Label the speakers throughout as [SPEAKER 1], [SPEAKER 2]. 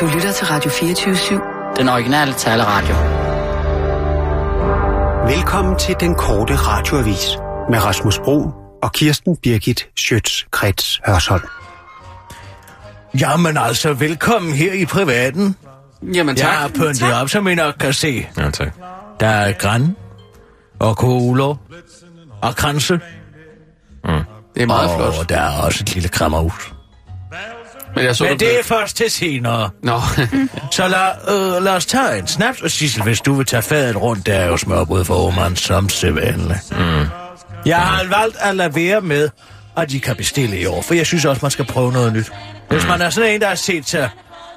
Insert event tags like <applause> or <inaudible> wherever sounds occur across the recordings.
[SPEAKER 1] Du lytter til Radio 24-7.
[SPEAKER 2] Den originale taleradio.
[SPEAKER 3] Velkommen til den korte radioavis med Rasmus Bro og Kirsten Birgit Schøtz-Krets Hørsholm.
[SPEAKER 4] Jamen altså, velkommen her i privaten.
[SPEAKER 2] Jamen tak.
[SPEAKER 4] Jeg har pyntet op, som I nok kan se.
[SPEAKER 5] Ja, tak.
[SPEAKER 4] Der er græn og kugler og kranse.
[SPEAKER 2] Det er meget
[SPEAKER 4] og
[SPEAKER 2] flot.
[SPEAKER 4] der er også et lille krammerhus.
[SPEAKER 2] Men jeg så
[SPEAKER 4] Men
[SPEAKER 2] dig
[SPEAKER 4] det er
[SPEAKER 2] blive-
[SPEAKER 4] først til senere.
[SPEAKER 2] Nå, <laughs>
[SPEAKER 4] Så lad, øh, lad os tage en snaps, og Sissel, hvis du vil tage fadet rundt, der er jo smørbrød for Oman som sædvanligt. Mm. Jeg har valgt at lade være med, at de kan bestille i år, for jeg synes også, man skal prøve noget nyt. Hvis man er sådan en, der har set sig,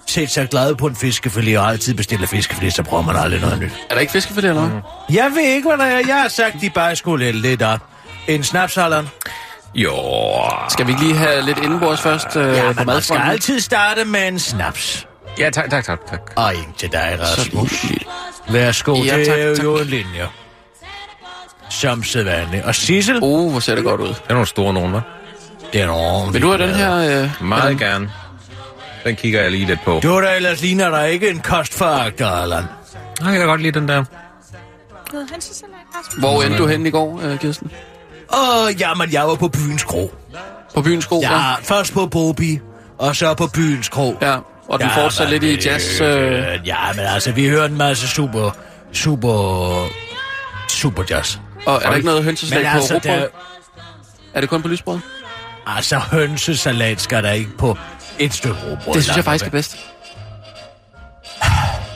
[SPEAKER 4] set sig glad på en fiskefilet og altid bestiller fiskefilet, så prøver man aldrig noget nyt.
[SPEAKER 2] er der ikke fiskefilet eller hvad?
[SPEAKER 4] Jeg ved ikke, hvad der er. Jeg har sagt, de bare skulle hælde lidt op. En snapsalderen.
[SPEAKER 5] Jo,
[SPEAKER 2] Skal vi ikke lige have lidt indenbords først? Øh, på
[SPEAKER 4] Ja, men man skal
[SPEAKER 2] madfronten?
[SPEAKER 4] altid starte med en snaps.
[SPEAKER 5] ja, tak, tak, tak, tak.
[SPEAKER 4] Og en til dig,
[SPEAKER 2] Så
[SPEAKER 4] Rasmus.
[SPEAKER 2] lige-
[SPEAKER 4] Værsgo,
[SPEAKER 2] Ja,
[SPEAKER 4] det
[SPEAKER 2] tak,
[SPEAKER 4] er
[SPEAKER 2] tak.
[SPEAKER 4] jo en linje. Som sædvanligt. Og Sissel, oh.
[SPEAKER 2] Uh, hvor ser det godt ud.
[SPEAKER 5] Det er nogle store nogen, hva'?
[SPEAKER 4] det er en ordentlig
[SPEAKER 2] Vil du have den her? Øh,
[SPEAKER 5] Meget
[SPEAKER 2] den-
[SPEAKER 5] gerne. Den kigger jeg lige lidt på.
[SPEAKER 4] Du der ellers ligner dig ikke en kostforagter, Allan.
[SPEAKER 5] Nej, jeg kan godt lide den der.
[SPEAKER 6] Noget hønsesalat, Rasmus?
[SPEAKER 2] Hvor endte du henne i går, øh, Kirsten?
[SPEAKER 4] Åh, jamen, jeg var på byens kro.
[SPEAKER 2] På byens kro? hva'?
[SPEAKER 4] Ja, først på Bobi, og så på byens kro.
[SPEAKER 2] Ja, og den fortsætter
[SPEAKER 4] men
[SPEAKER 2] lidt i
[SPEAKER 4] det-
[SPEAKER 2] jazz, øh.
[SPEAKER 4] Ja, men altså, vi hører en masse super, super, super jazz.
[SPEAKER 2] Og er der ikke noget hønseslag
[SPEAKER 4] Men
[SPEAKER 2] på
[SPEAKER 4] altså,
[SPEAKER 2] altså,
[SPEAKER 4] der,
[SPEAKER 2] Er det kun på lysbrød?
[SPEAKER 4] altså, hønsesalat skal der ikke på et stykke rugbrød.
[SPEAKER 2] Det synes jeg
[SPEAKER 4] langt
[SPEAKER 2] faktisk
[SPEAKER 4] væk.
[SPEAKER 2] er bedst.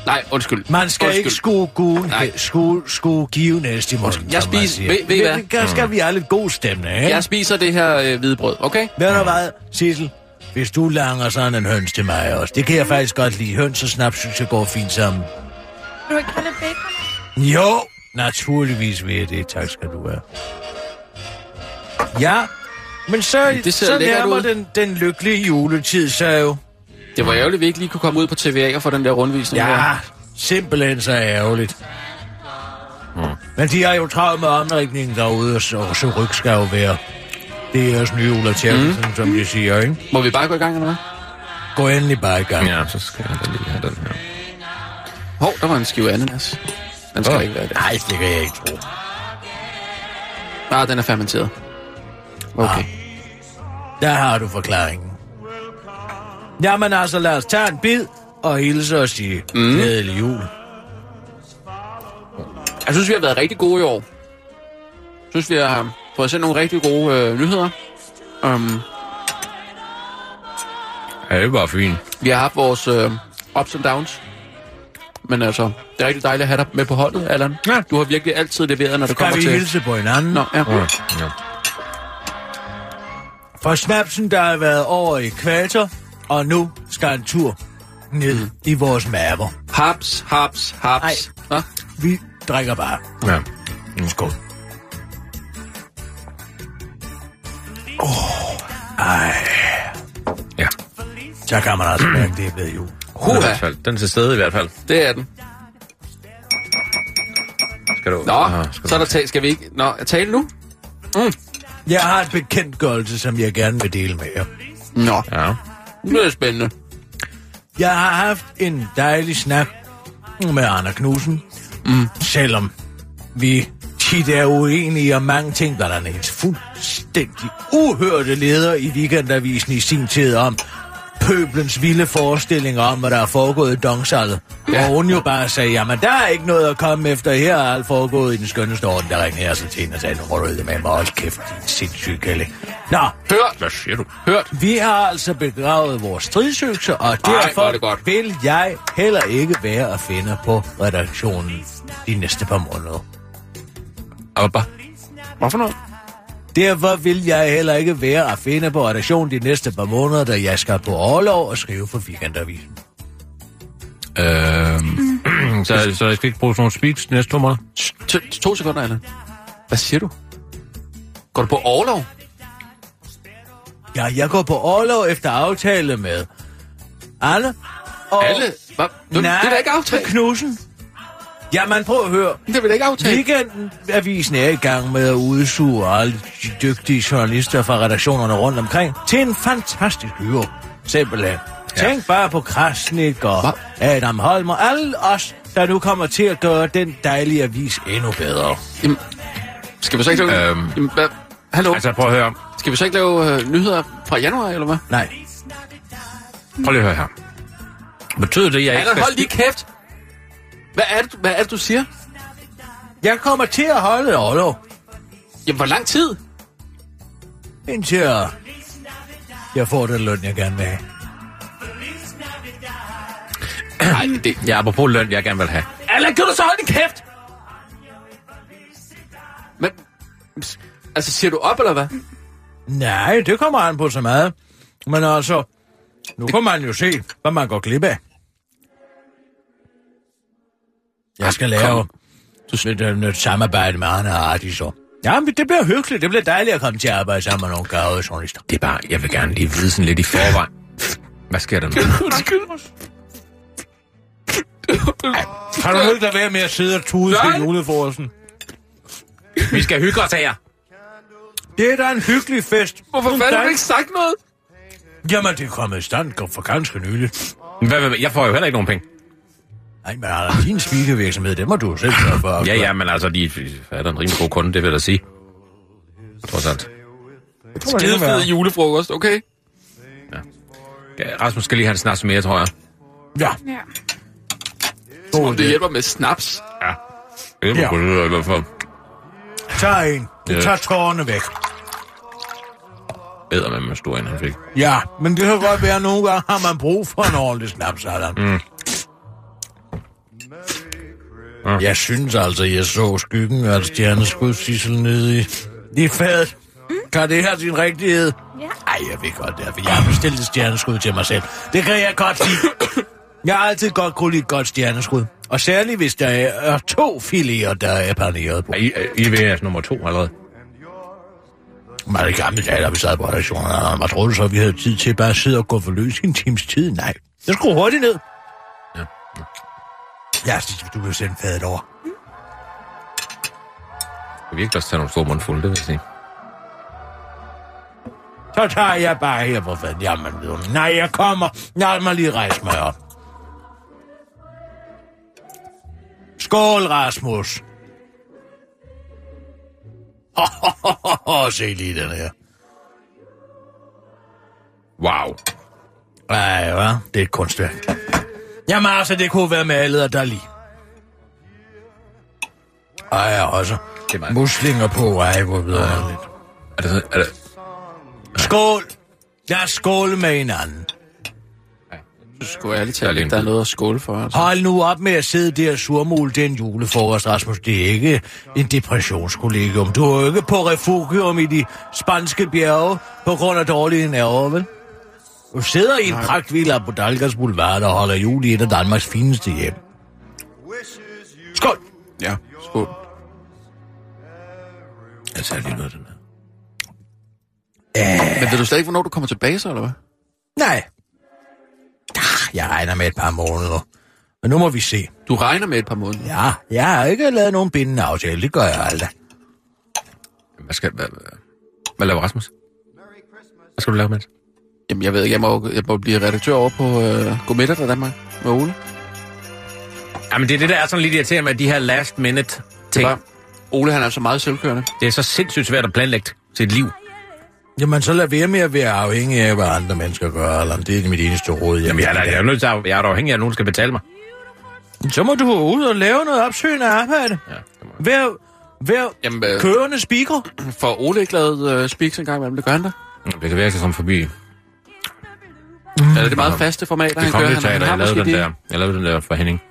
[SPEAKER 2] Nej, undskyld.
[SPEAKER 4] Man skal
[SPEAKER 2] undskyld.
[SPEAKER 4] ikke skue guen,
[SPEAKER 2] Nej.
[SPEAKER 4] skue, skue give næste i munden,
[SPEAKER 2] Jeg
[SPEAKER 4] som man
[SPEAKER 2] spiser-
[SPEAKER 4] siger.
[SPEAKER 2] ved- ved I hvad? Mm.
[SPEAKER 4] Det gør- skal vi have lidt god stemning, ikke?
[SPEAKER 2] Jeg spiser det her øh, hvide brød, okay?
[SPEAKER 4] Ved du hvad, Sissel? Hvis du langer sådan en høns til mig også. Det kan jeg faktisk godt lide. Høns og snaps synes jeg går fint sammen.
[SPEAKER 6] Vil du ikke have lidt bacon?
[SPEAKER 4] Jo, naturligvis vil jeg det. Tak skal du have. Ja, men så,
[SPEAKER 2] Det ser
[SPEAKER 4] så
[SPEAKER 2] lækkert
[SPEAKER 4] nærmer
[SPEAKER 2] ud.
[SPEAKER 4] den, den lykkelige juletid så jo.
[SPEAKER 2] Det var ærgerligt, at vi ikke lige kunne komme ud på TVA og få den der rundvisning.
[SPEAKER 4] Ja,
[SPEAKER 2] her.
[SPEAKER 4] simpelthen så ærgerligt. Mm. Men de har jo travlt med omrigningen derude, og så, og så ryg skal jo være. Det er også nye Ulla Tjerkelsen, mm. som de siger, ikke?
[SPEAKER 2] Må vi bare gå i gang, eller hvad?
[SPEAKER 4] Gå endelig bare i gang.
[SPEAKER 5] Ja, så skal jeg da lige have den her.
[SPEAKER 2] Hov, der var en skive ananas. Den skal
[SPEAKER 5] Åh.
[SPEAKER 2] oh. ikke være der.
[SPEAKER 4] Nej, det kan jeg ikke tro.
[SPEAKER 2] Ah, den er fermenteret. Okay.
[SPEAKER 4] Der har du forklaringen. Jamen altså, lad os tage en bid og hilse og sige mm. glædelig jul.
[SPEAKER 2] Jeg synes, vi har været rigtig gode i år. Jeg synes, vi har fået sendt nogle rigtig gode øh, nyheder. Um,
[SPEAKER 5] Ja, det var fint.
[SPEAKER 2] vi har haft vores øh, ups and downs. Men altså, det er rigtig dejligt at have dig med på holdet, Allan.
[SPEAKER 5] Ja.
[SPEAKER 2] Du har virkelig altid leveret, når det
[SPEAKER 4] Kan
[SPEAKER 2] kommer
[SPEAKER 4] vi
[SPEAKER 2] til...
[SPEAKER 4] hilse på hinanden?
[SPEAKER 2] Nå, ja.
[SPEAKER 5] Ja, ja.
[SPEAKER 4] For snapsen, der har været over i kvator, og nu skal en tur ned mm. i vores maver.
[SPEAKER 2] Haps, haps, haps. Nå,
[SPEAKER 4] Vi drikker bare.
[SPEAKER 5] ja.
[SPEAKER 4] Mm, skål. Oh, ej,
[SPEAKER 5] ja.
[SPEAKER 4] så kan man altså mærke, det er blevet jul.
[SPEAKER 5] Den, er i
[SPEAKER 2] Huha,
[SPEAKER 5] hvert fald. den er til stede i hvert fald.
[SPEAKER 2] det er den.
[SPEAKER 5] Skal du...
[SPEAKER 2] Nå,
[SPEAKER 5] Ah, skal
[SPEAKER 2] så er
[SPEAKER 5] du...
[SPEAKER 2] der tale. Skal vi ikke... Nå, tale nu?
[SPEAKER 4] Jeg har en bekendtgørelse, som jeg gerne vil dele med jer.
[SPEAKER 2] Nå,
[SPEAKER 5] Ja.
[SPEAKER 2] nu bliver det spændende.
[SPEAKER 4] Jeg har haft en dejlig snak med Anna Knudsen, mm. selvom vi tit er uenige om mange ting, var der en helt fuldstændig uhørte leder i weekendavisen i sin tid om pøblens vilde forestillinger om, hvad der er foregået i Dongsallet. Ja.
[SPEAKER 2] Ja.
[SPEAKER 4] Hvor hun jo bare sagde, jamen der er ikke noget at komme efter her, er alt foregået i den skønneste orden, der ringede jeg så til hende og sagde, nu må du ud med mig, hold kæft, din sindssyge kælling. Nå,
[SPEAKER 2] Hørt,
[SPEAKER 5] Hvad siger du?
[SPEAKER 2] hørt.
[SPEAKER 4] vi har altså begravet vores stridsøkse, og
[SPEAKER 2] hvor
[SPEAKER 4] derfor
[SPEAKER 2] er det godt.
[SPEAKER 4] vil jeg heller ikke være at finde på redaktionen de næste par måneder.
[SPEAKER 5] Abba.
[SPEAKER 2] Hvorfor noget?
[SPEAKER 4] Derfor vil jeg heller ikke være at finde på redaktionen de næste par måneder, da jeg skal på overlov og skrive for Weekendavisen.
[SPEAKER 5] Øhm, <clears throat> så, så jeg skal ikke bruge sådan nogle speaks næste to måneder?
[SPEAKER 2] To, to sekunder, Allan. Hvad siger du? Går du på overlov?
[SPEAKER 4] Ja, jeg går på overlov efter aftale med Anne og...
[SPEAKER 2] Alle? Hvad? Du,
[SPEAKER 4] Nej,
[SPEAKER 2] det er da ikke aftalt.
[SPEAKER 4] Knudsen. Jamen, prøv at høre.
[SPEAKER 2] Det er vel ikke aftalt.
[SPEAKER 4] Weekenden avisen er i gang med at udsuge alle de dygtige journalister fra redaktionerne rundt omkring til en fantastisk hyre. Simpelthen. Tænk bare på Krasnik og Adam Holm og alle os, der nu kommer til at gøre den dejlige avis endnu bedre.
[SPEAKER 2] Skal vi så ikke lave...
[SPEAKER 5] Øhm.
[SPEAKER 2] Jamen, hvad? Hallo?
[SPEAKER 5] Altså, prøv at høre.
[SPEAKER 2] Skal vi så ikke lave øh, nyheder fra januar, eller hvad?
[SPEAKER 4] Nej,
[SPEAKER 5] Prøv lige at høre her. Betyder det, at jeg ikke
[SPEAKER 2] Allan,
[SPEAKER 5] skal...
[SPEAKER 2] hold lige kæft! Hvad er det, du- hvad er det du siger?
[SPEAKER 4] jeg kommer til at holde Ollo
[SPEAKER 2] Jamen, hvor lang tid?
[SPEAKER 4] indtil jeg, jeg får den løn, jeg gerne vil have.
[SPEAKER 2] Nej, det...
[SPEAKER 5] Ja, apropos løn, jeg gerne vil have.
[SPEAKER 2] Allan, kan du så holde din kæft? Men... Altså, siger du op, eller hvad?
[SPEAKER 4] Nej, det kommer an på så meget. Men altså, nu kan man jo se, hvad man går glip af. Jeg skal lave lidt, øh, et samarbejde med Arne og Arti, så. Jamen, det bliver hyggeligt. Det bliver dejligt at komme til at arbejde sammen med nogle gavede journalister.
[SPEAKER 5] Det er bare, jeg vil gerne lige vide sådan lidt i forvejen. Hvad sker der
[SPEAKER 2] <laughs>
[SPEAKER 5] nu?
[SPEAKER 2] Undskyld.
[SPEAKER 4] Kan du ikke lade være med at sidde og tude til juleforsen?
[SPEAKER 5] Vi skal hygge os her.
[SPEAKER 4] Det er da en hyggelig fest.
[SPEAKER 2] Hvorfor fanden har du
[SPEAKER 4] Dej-
[SPEAKER 2] ikke sagt noget?
[SPEAKER 4] Jamen, det er kommet i stand for ganske nylig.
[SPEAKER 5] Hvad, hvad, hvad? Jeg får jo heller ikke nogen penge.
[SPEAKER 4] Nej, men Arne, din speakervirksomhed, det må du jo selv sørge for.
[SPEAKER 5] Ja, ja, men altså, de er da en rimelig god kunde, det vil jeg da sige. Trods alt.
[SPEAKER 2] Skidefed julefrokost, okay?
[SPEAKER 5] Ja, Rasmus skal lige have en snaps mere, tror jeg.
[SPEAKER 4] Ja,
[SPEAKER 6] Ja.
[SPEAKER 2] Om det hjælper med snaps.
[SPEAKER 5] Det
[SPEAKER 4] Ja.
[SPEAKER 5] må ja. i hvert fald.
[SPEAKER 4] tag en. Du
[SPEAKER 5] Ja.
[SPEAKER 4] tager tårerne væk.
[SPEAKER 5] Bedre med, med stor en, han fik.
[SPEAKER 4] Ja, men det kan godt være, at nogle gange har man brug for en ordentlig snaps, Adam. Mm. Jeg synes altså, jeg så skyggen af et stjerneskud sissel nede i, i fadet. Kan det her sin rigtighed?
[SPEAKER 6] Ja.
[SPEAKER 4] Ej, jeg ved godt det er, for jeg har bestilt et stjerneskud til mig selv. Det kan jeg godt lide. Jeg har altid godt kunne lide et godt stjerneskud. Og særligt, hvis der er to filéer, der er paneret på.
[SPEAKER 5] Er I, er I ved jeres nummer to allerede?
[SPEAKER 4] Man er i gamle dage, da vi sad på redaktionen, og man troede så, at vi havde tid til bare at sidde og gå for løs i en times tid. Nej, det skulle hurtigt ned.
[SPEAKER 5] Ja.
[SPEAKER 4] Ja, så du blev sendt fadet over.
[SPEAKER 5] Skal vi ikke også tage nogle store mundfulde, det vil jeg sige.
[SPEAKER 4] Så tager jeg bare her på fanden. Jamen, ved du, nej, jeg kommer. Lad mig lige rejse mig op. Skål, Rasmus. <laughs> Se lige den her.
[SPEAKER 5] Wow.
[SPEAKER 4] Nej, hva? Det er et kunstværk. Jamen altså, det kunne være malet af Dali. Ej, ja, også.
[SPEAKER 5] Det er meget-
[SPEAKER 4] Muslinger på, ej, hvor vidunderligt.
[SPEAKER 5] Er det, sådan- er det,
[SPEAKER 4] Skål! Lad os skåle med hinanden.
[SPEAKER 2] Du skulle ærligt
[SPEAKER 5] Jeg er
[SPEAKER 2] tale,
[SPEAKER 5] lidt-
[SPEAKER 2] der er noget at skåle for. Altså.
[SPEAKER 4] Hold nu op med at sidde der og surmule den julefrokost, Rasmus. Det er ikke en depressionskollegium. Du er jo ikke på refugium i de spanske bjerge på grund af dårlige nerver, vel? Du sidder i en pragtvilla på Dalgas Boulevard og holder jul i et af Danmarks fineste hjem. Skål!
[SPEAKER 2] Ja, skål.
[SPEAKER 5] jeg tager lige noget af den her.
[SPEAKER 2] Men ved du slet ikke, hvornår du kommer tilbage så, eller hvad?
[SPEAKER 4] Nej. Ah, Jeg regner med et par måneder. Men nu må vi se.
[SPEAKER 2] Du regner med et par måneder. Ja.
[SPEAKER 4] Ja, jeg har ikke lavet nogen bindende aftale. Det gør jeg aldrig.
[SPEAKER 5] Hvad skal... Hvad, hvad, hvad laver Rasmus? Hvad skal du lave, mens?
[SPEAKER 2] Jamen, jeg ved ikke, jeg må, jeg må blive redaktør over på øh, Godmiddag der Danmark med Ole.
[SPEAKER 5] Jamen, det er det, der er sådan lidt irriterende med de her last minute ting.
[SPEAKER 2] Bare, Ole, han er så meget selvkørende.
[SPEAKER 5] Det er så sindssygt svært at planlægge sit liv.
[SPEAKER 4] Jamen, så lad være med at være afhængig af, hvad andre mennesker gør, eller det er mit eneste råd.
[SPEAKER 5] Jamen, jeg er, da- jeg er, nødt til at, jeg er da afhængig af, at nogen skal betale mig.
[SPEAKER 4] Så må du ud og lave noget opsøgende arbejde.
[SPEAKER 5] Ja, det må jeg.
[SPEAKER 4] Vær, vær
[SPEAKER 2] Jamen, øh,
[SPEAKER 4] kørende speaker.
[SPEAKER 2] for Ole ikke lavet øh, speaks en gang imellem, det gør han da.
[SPEAKER 5] Det kan virkelig komme forbi.
[SPEAKER 2] Mm. Er det meget faste format,
[SPEAKER 5] Det
[SPEAKER 2] han
[SPEAKER 5] kom
[SPEAKER 2] kører?
[SPEAKER 5] lidt
[SPEAKER 2] Han, han
[SPEAKER 5] teater,
[SPEAKER 2] har
[SPEAKER 5] jeg lavede
[SPEAKER 2] måske
[SPEAKER 5] den
[SPEAKER 2] det.
[SPEAKER 5] der. Jeg lavede den der for Henning.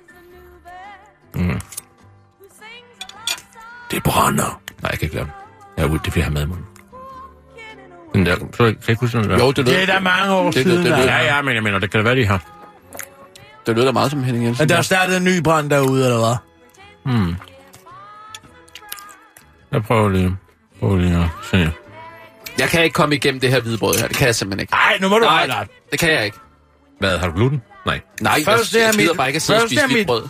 [SPEAKER 5] Mm. Det brænder. Nej, jeg kan ikke lave den. Jeg er ude, det bliver jeg have med i munden. Den der, så kan jeg ikke huske den der.
[SPEAKER 2] Jo, det lød,
[SPEAKER 4] Det er da mange år
[SPEAKER 2] det- det-
[SPEAKER 4] siden.
[SPEAKER 2] det-
[SPEAKER 4] Det,
[SPEAKER 2] det-
[SPEAKER 5] Ja, ja, men jeg mener, det kan da være, de har.
[SPEAKER 2] det lød da meget som Henning Jensen.
[SPEAKER 4] Men der er startet en ny brand derude, eller hvad?
[SPEAKER 5] Jeg prøver lige. Prøver lige at se.
[SPEAKER 2] Jeg kan ikke komme igennem det her hvide brød her, det kan jeg simpelthen ikke.
[SPEAKER 4] Nej, nu må du holde op.
[SPEAKER 2] det kan jeg ikke.
[SPEAKER 5] Hvad, har du gluten? Nej.
[SPEAKER 2] Nej,
[SPEAKER 4] Først
[SPEAKER 2] jeg,
[SPEAKER 4] er
[SPEAKER 2] jeg gider
[SPEAKER 4] mit-
[SPEAKER 2] bare ikke at sidde og
[SPEAKER 4] først
[SPEAKER 2] spise
[SPEAKER 4] er
[SPEAKER 2] hvidt
[SPEAKER 4] mit-
[SPEAKER 2] brød.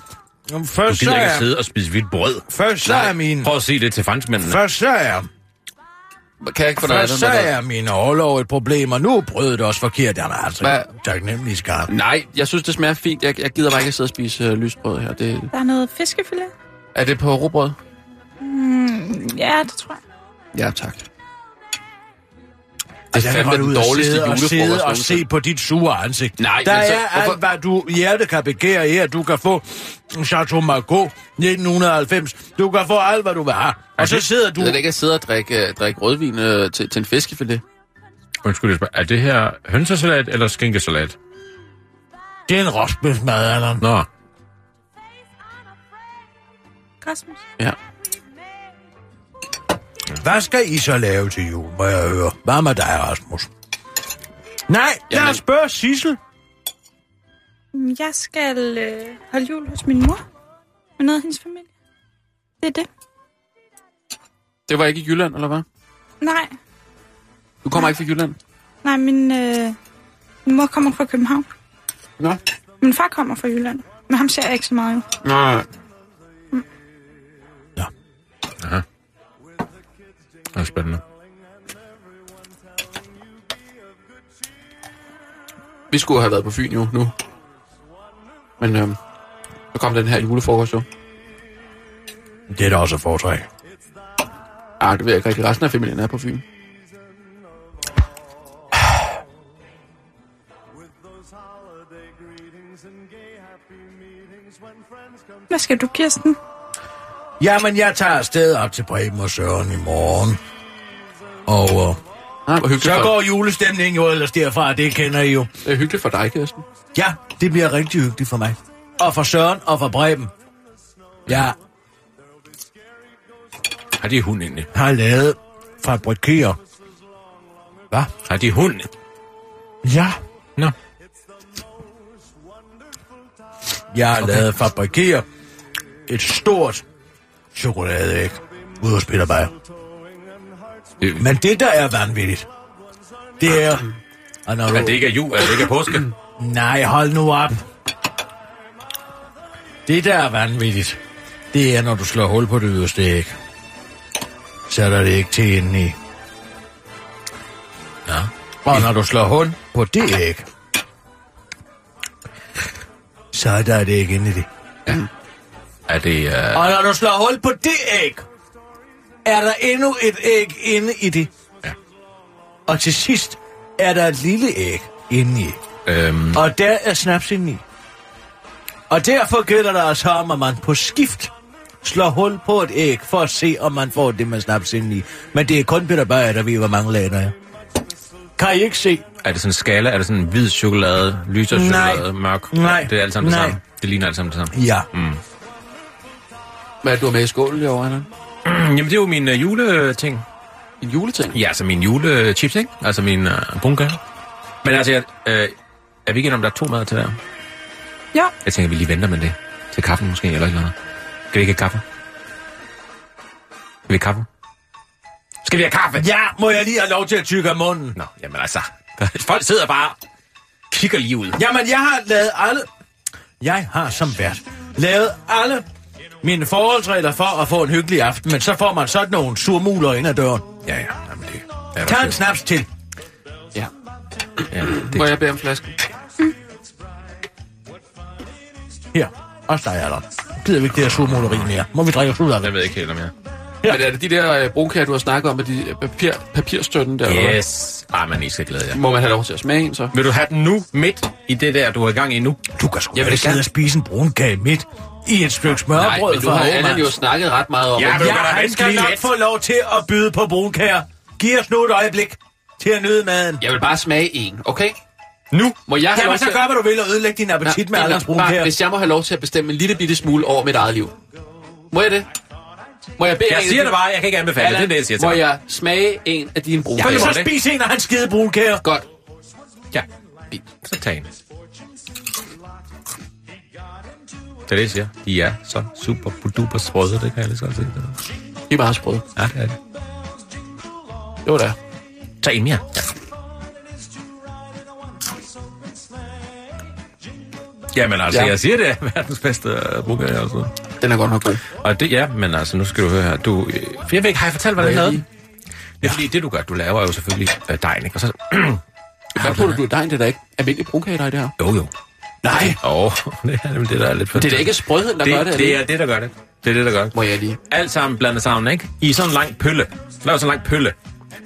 [SPEAKER 4] Jamen,
[SPEAKER 5] Du
[SPEAKER 4] Først så
[SPEAKER 5] gider ikke
[SPEAKER 4] er,
[SPEAKER 5] sidde og spise hvidt brød.
[SPEAKER 4] først så er min...
[SPEAKER 5] Prøv at sige det til franskmændene.
[SPEAKER 4] Først så er
[SPEAKER 2] Kan jeg ikke få dig af
[SPEAKER 4] Først
[SPEAKER 2] den
[SPEAKER 4] så
[SPEAKER 2] der?
[SPEAKER 4] er min overlov et problem, og nu er brødet også forkert. Jeg er altså
[SPEAKER 2] Hvad?
[SPEAKER 4] taknemmelig skarp.
[SPEAKER 2] Nej, jeg synes, det smager fint. Jeg, jeg gider bare ikke sidde og spise øh, lysbrød her. Det,
[SPEAKER 6] Der er noget fiskefilet.
[SPEAKER 2] er det på råbrød?
[SPEAKER 6] Ja, det tror jeg.
[SPEAKER 2] Ja, tak.
[SPEAKER 4] Det er
[SPEAKER 2] fandme
[SPEAKER 4] fandme
[SPEAKER 2] den
[SPEAKER 4] Altså, ud og
[SPEAKER 2] dårligste
[SPEAKER 4] sidde og, sidde
[SPEAKER 2] julefrokost
[SPEAKER 4] og
[SPEAKER 2] nogensinde.
[SPEAKER 4] se på dit sure ansigt.
[SPEAKER 2] Nej,
[SPEAKER 4] Der
[SPEAKER 2] men så-
[SPEAKER 4] er
[SPEAKER 2] hvorfor-
[SPEAKER 4] alt, hvad du hjertet kan begære her. Du kan få Chateau Margaux 1990. Du kan få alt, hvad du vil have. Og så sidder du...
[SPEAKER 2] Du... Jeg ikke at sidde og drikke, øh, drikke rødvin øh, til, til en fiskefilet.
[SPEAKER 5] Undskyld, jeg spørger, er det her hønsesalat eller skinkesalat?
[SPEAKER 4] Det er en rostbøfmad, Allan.
[SPEAKER 5] Nå,
[SPEAKER 6] Rasmus.
[SPEAKER 2] Ja.
[SPEAKER 4] Hvad skal I så lave til jul, må jeg høre? Hvad med dig, Rasmus? Nej, Jamen. lad
[SPEAKER 2] Jamen.
[SPEAKER 4] os spørge Sissel.
[SPEAKER 6] Mm, Jeg skal øh, holde jul hos min mor. Med noget af hendes familie. Det er det.
[SPEAKER 2] Det var ikke i Jylland, eller hvad?
[SPEAKER 6] Nej.
[SPEAKER 2] Du kommer ikke fra Jylland?
[SPEAKER 6] Nej, min, øh, min mor kommer fra København.
[SPEAKER 2] Nå.
[SPEAKER 6] Min far kommer fra Jylland. Men ham ser jeg ikke så meget jo.
[SPEAKER 2] Nej.
[SPEAKER 5] det er spændende.
[SPEAKER 2] Vi skulle have været på Fyn jo nu. Men øhm, så kom den her julefrokost jo.
[SPEAKER 4] Det er da også et foretræk.
[SPEAKER 2] Ah, det ved jeg ikke rigtig. Resten af familien er på Fyn.
[SPEAKER 6] Hvad skal du, Kirsten?
[SPEAKER 4] Jamen, jeg tager afsted op til Bremen og Søren i morgen. Og øh,
[SPEAKER 2] Ah, hvor hyggeligt,
[SPEAKER 4] så
[SPEAKER 2] for,
[SPEAKER 4] går julestemningen jo ellers derfra, det kender I jo.
[SPEAKER 2] det er hyggeligt for dig, Kirsten.
[SPEAKER 4] Ja, det bliver rigtig hyggeligt for mig. Og for Søren og for Breben. Jeg
[SPEAKER 5] Har de hund egentlig?
[SPEAKER 4] har lavet fabrikerer. Hvad?
[SPEAKER 5] Har de hund?
[SPEAKER 4] Ja.
[SPEAKER 5] Nå.
[SPEAKER 4] Jeg har okay. lavet fabrikerer et stort chokoladeæg ude hos Peter Beyer.
[SPEAKER 5] Det,
[SPEAKER 4] Men det, der er vanvittigt, det er... Og når
[SPEAKER 5] at det ikke er jul, at det ikke er påske.
[SPEAKER 4] Nej, hold nu op. Det der er vanvittigt, det er, når du slår hul på det yderste æg. Så er der det ikke til indeni. i. Ja. Og når du slår hul på det æg, så er der det ikke inde i det.
[SPEAKER 5] Er det... Uh...
[SPEAKER 4] Og når du slår hul på det æg, er der endnu et æg inde i det.
[SPEAKER 5] Ja.
[SPEAKER 4] Og til sidst er der et lille æg inde i.
[SPEAKER 5] Øhm,
[SPEAKER 4] Og der er snaps indeni. Og derfor gælder det altså om, at man på skift slår hul på et æg, for at se, om man får det med snaps indeni. Men det er kun Peter Beyer, der ved, hvor mange lag der er. Kan I ikke se?
[SPEAKER 5] er det sådan en skala? Er det sådan hvid chokolade, lyser chokolade,
[SPEAKER 4] Nej.
[SPEAKER 5] mørk?
[SPEAKER 4] Nej.
[SPEAKER 5] Det er alt sammen det
[SPEAKER 4] Nej.
[SPEAKER 5] samme. Det ligner alt sammen det samme.
[SPEAKER 4] Ja.
[SPEAKER 2] Hvad er det, du har med i skålen i år, Anna?
[SPEAKER 5] Mm, <clears throat> jamen, det er jo min øh, juleting.
[SPEAKER 2] En juleting?
[SPEAKER 5] Ja, altså min julechips, ikke? Altså min øh, brunkager. Men altså, jeg, øh, er vi ikke enige om, der er to mader til hver?
[SPEAKER 6] Jo,
[SPEAKER 5] Jeg tænker, vi lige venter med det. Til kaffen måske, eller et eller andet. Skal vi ikke have kaffe? Skal vi have kaffe? Skal vi have kaffe?
[SPEAKER 4] Ja, må jeg lige have lov til at tykke af munden?
[SPEAKER 5] Nå, jamen altså. <laughs> Folk sidder bare og kigger lige ud.
[SPEAKER 4] Jamen, jeg har lavet alle... Jeg har som vært lavet alle mine forholdsregler for at få en hyggelig aften, men så får man sådan nogle surmuler ind ad døren.
[SPEAKER 5] Ja, ja. Jamen, det er
[SPEAKER 4] Tag en snaps til.
[SPEAKER 2] Ja.
[SPEAKER 5] Ja,
[SPEAKER 2] Må
[SPEAKER 5] det,
[SPEAKER 2] jeg bede om flasken?
[SPEAKER 4] Her. Også dig, Allan. Gider vi ikke det her surmuleri mere? Må vi drikke os ud af
[SPEAKER 5] jeg
[SPEAKER 4] det?
[SPEAKER 5] ved ikke helt om jeg.
[SPEAKER 2] Ja. Men er det de der øh, brunkager, du har snakket om, med de øh, papir, papirstøtten der? eller hvad?
[SPEAKER 5] Yes. Ah, man I skal glæde jer.
[SPEAKER 2] Må man have lov til at smage en, så?
[SPEAKER 5] Vil du have den nu, midt i det der, du er i gang i nu?
[SPEAKER 4] Du kan sgu
[SPEAKER 5] Jeg vil
[SPEAKER 4] da ikke sidde
[SPEAKER 5] gerne-
[SPEAKER 4] og spise en brun kage midt i et stykke
[SPEAKER 2] Nej,
[SPEAKER 4] smørbrød
[SPEAKER 2] men du
[SPEAKER 4] fra
[SPEAKER 2] har Allan
[SPEAKER 4] Aarhus.
[SPEAKER 2] jo snakket ret meget om.
[SPEAKER 5] Ja,
[SPEAKER 2] at-
[SPEAKER 5] men-
[SPEAKER 4] Ja,
[SPEAKER 5] Du kan da
[SPEAKER 4] han
[SPEAKER 5] vente
[SPEAKER 4] skal
[SPEAKER 5] lige
[SPEAKER 4] nok
[SPEAKER 5] lidt.
[SPEAKER 4] få lov til at byde på brunkager. Giv os nu et øjeblik til at nyde maden.
[SPEAKER 2] Jeg vil bare smage en, okay?
[SPEAKER 5] Nu?
[SPEAKER 2] Må jeg have
[SPEAKER 4] Jamen,
[SPEAKER 2] lov
[SPEAKER 4] så
[SPEAKER 2] til...
[SPEAKER 4] gør, hvad du vil, og ødelægge din appetit med
[SPEAKER 2] Nej, nej,
[SPEAKER 4] Allans
[SPEAKER 2] bare,
[SPEAKER 4] brunkager.
[SPEAKER 2] Hvis jeg må have lov til at bestemme en lille bitte smule over mit eget liv. Må jeg det? Må jeg bede
[SPEAKER 5] Jeg
[SPEAKER 2] en af
[SPEAKER 5] siger
[SPEAKER 2] dine-
[SPEAKER 5] det bare, jeg kan ikke anbefale det. Det er
[SPEAKER 2] Allan,
[SPEAKER 5] det, jeg siger til
[SPEAKER 2] Må
[SPEAKER 5] dig.
[SPEAKER 2] jeg smage en af dine brune?
[SPEAKER 5] Ja,
[SPEAKER 2] Ja,
[SPEAKER 5] ja.
[SPEAKER 4] Så
[SPEAKER 5] det.
[SPEAKER 4] spis en af hans skide brunkager.
[SPEAKER 2] Godt.
[SPEAKER 5] Ja. Så tag en. Det er det, jeg siger. De er så super duper sprøde, det kan jeg lige så godt se.
[SPEAKER 2] De er meget sprøde.
[SPEAKER 5] Ja, det er det.
[SPEAKER 2] Det var da.
[SPEAKER 5] Tag en mere. Ja. Jamen altså,
[SPEAKER 2] Ja.
[SPEAKER 5] ja. jeg siger, det er verdens bedste øh, brugger, jeg også.
[SPEAKER 2] Den er godt nok god.
[SPEAKER 5] Og det, ja, men altså, nu skal du høre her. Du, øh, for jeg ved ikke, har jeg fortalt, hvad
[SPEAKER 2] Må
[SPEAKER 5] den
[SPEAKER 2] jeg
[SPEAKER 5] lavede?
[SPEAKER 2] lige?
[SPEAKER 5] Det er fordi, det du gør, du laver jo selvfølgelig øh, dejen, ikke? Og så, <clears throat>
[SPEAKER 2] Hvad putter du i dejen? Det er da ikke almindelig brugkager i det her.
[SPEAKER 5] jo jo.
[SPEAKER 2] Nej,
[SPEAKER 5] Åh, <laughs> oh, det er nemlig det, der er lidt for...
[SPEAKER 2] det er da ikke sprødheden, der
[SPEAKER 5] det,
[SPEAKER 2] gør det.
[SPEAKER 5] det, det er det, der gør det. Det er det, der gør det.
[SPEAKER 2] Må jeg lige.
[SPEAKER 5] Alt sammen blandet sammen, ikke? I sådan en lang pølle. Lav sådan en lang pølle,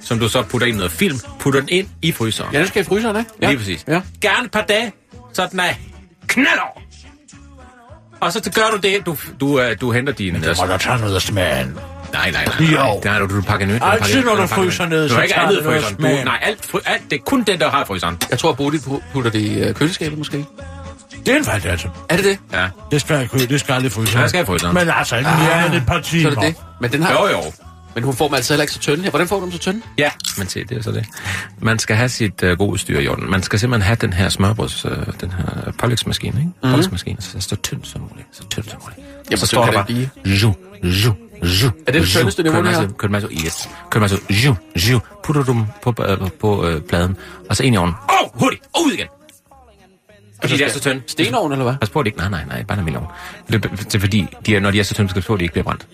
[SPEAKER 5] som du så putter ind i noget film. Putter den ind i fryseren.
[SPEAKER 2] Ja, den skal i fryseren, ikke? Ja.
[SPEAKER 5] Lige præcis.
[SPEAKER 2] Ja.
[SPEAKER 5] Gerne et par dage, så den er knald over. Og så gør du det, du, du, øh, du henter dine...
[SPEAKER 4] Det må
[SPEAKER 5] Nej,
[SPEAKER 4] da tage noget af smagen.
[SPEAKER 5] nej, nej. nej.
[SPEAKER 4] Jo.
[SPEAKER 5] Nej, du, du pakker nyt.
[SPEAKER 4] Altid, når du fryser ned,
[SPEAKER 5] Du
[SPEAKER 4] så
[SPEAKER 5] har ikke
[SPEAKER 4] tager
[SPEAKER 5] andet i
[SPEAKER 4] det noget
[SPEAKER 5] fryseren. Du,
[SPEAKER 4] smag.
[SPEAKER 5] nej, alt, fry, alt, det er kun den, der har i fryseren.
[SPEAKER 2] Jeg tror, Bodil pu- putter det i øh, køleskabet, måske.
[SPEAKER 4] Det er en fejl, altså.
[SPEAKER 2] Er det det?
[SPEAKER 5] Ja.
[SPEAKER 4] Det skal, jeg kø- det skal aldrig fryse.
[SPEAKER 5] Ja, det skal i fryseren.
[SPEAKER 4] Men altså, ikke mere end et par
[SPEAKER 2] Ah, Så
[SPEAKER 4] timer.
[SPEAKER 2] er det det. Men, den har,
[SPEAKER 5] Jo, jo.
[SPEAKER 2] men hun får dem altså heller ikke så tynde her. Hvordan får du dem så tynde?
[SPEAKER 5] Ja, men se, det er så det. Man skal have sit øh, gode styr i orden. Man skal simpelthen have den her smørbrøds, øh, den her pålægsmaskine, ikke? Mm-hmm. Pålægsmaskine, så, så tynd som muligt, så tynd som muligt.
[SPEAKER 2] Jamen,
[SPEAKER 5] så
[SPEAKER 2] så kan det
[SPEAKER 5] ju, ju, ju,
[SPEAKER 2] Er det det
[SPEAKER 5] ju.
[SPEAKER 2] tyndeste niveau,
[SPEAKER 5] Kør en
[SPEAKER 2] det her?
[SPEAKER 5] masse- Kør en masse, yes. Kør en masse, ju, ju. Putter du dem på, øh, på øh, pladen, og så ind i ovnen. Åh, oh, hurtigt, og ud igen. Fordi det er så tynde.
[SPEAKER 2] Stenovn, eller hvad?
[SPEAKER 5] Pas på, at det ikke... Nej, nej, nej, bare en almindelig ovn. Det, det, det er fordi, de er, når de er så tynde, så skal du på, at de ikke bliver brændt.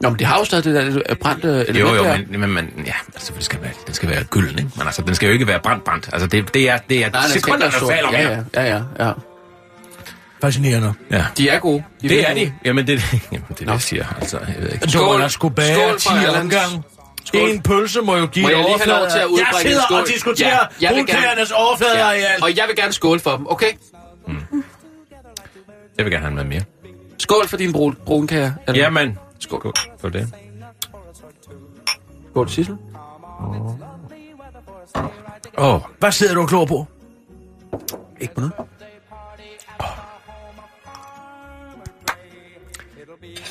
[SPEAKER 2] Nå, men det har jo stadig det der øh, brændte element
[SPEAKER 5] Jo, jo,
[SPEAKER 2] der.
[SPEAKER 5] men, men man, ja, altså, det skal være, den skal være gylden, ikke? Men altså, den skal jo ikke være brændt, brændt. Altså, det, det er, det er
[SPEAKER 2] Nej, den skal ikke
[SPEAKER 5] sekunder,
[SPEAKER 2] være
[SPEAKER 5] der
[SPEAKER 2] sort.
[SPEAKER 5] falder
[SPEAKER 2] ja,
[SPEAKER 5] mere.
[SPEAKER 2] ja, ja, ja, ja.
[SPEAKER 4] Fascinerende.
[SPEAKER 5] ja.
[SPEAKER 2] De er gode. De
[SPEAKER 5] Det er
[SPEAKER 2] virkelig
[SPEAKER 5] de. Jamen, det, <laughs> jamen, det er det, jeg siger. Altså, jeg ved ikke.
[SPEAKER 4] Du må da skulle bære
[SPEAKER 2] Skål
[SPEAKER 4] 10
[SPEAKER 2] for Erlands.
[SPEAKER 4] omgang.
[SPEAKER 2] Skål.
[SPEAKER 4] En pølse må jo give
[SPEAKER 2] Må jeg lige have
[SPEAKER 4] overflade-
[SPEAKER 2] lov til at udbringe
[SPEAKER 4] Jeg
[SPEAKER 2] en
[SPEAKER 4] sidder og
[SPEAKER 2] skål?
[SPEAKER 4] diskuterer
[SPEAKER 2] Ja, jeg vil gerne-
[SPEAKER 4] brugkagernes overfladeareal.
[SPEAKER 2] gode. Og jeg vil gerne skåle for dem, okay?
[SPEAKER 5] Jeg vil gerne have med mere.
[SPEAKER 2] Skål for din brun, brunkager. Eller-
[SPEAKER 5] Jamen, skål. skål. For det.
[SPEAKER 2] Skål, Sissel.
[SPEAKER 5] Åh, oh,
[SPEAKER 4] Hvad sidder du og klor på?
[SPEAKER 2] Ikke på noget.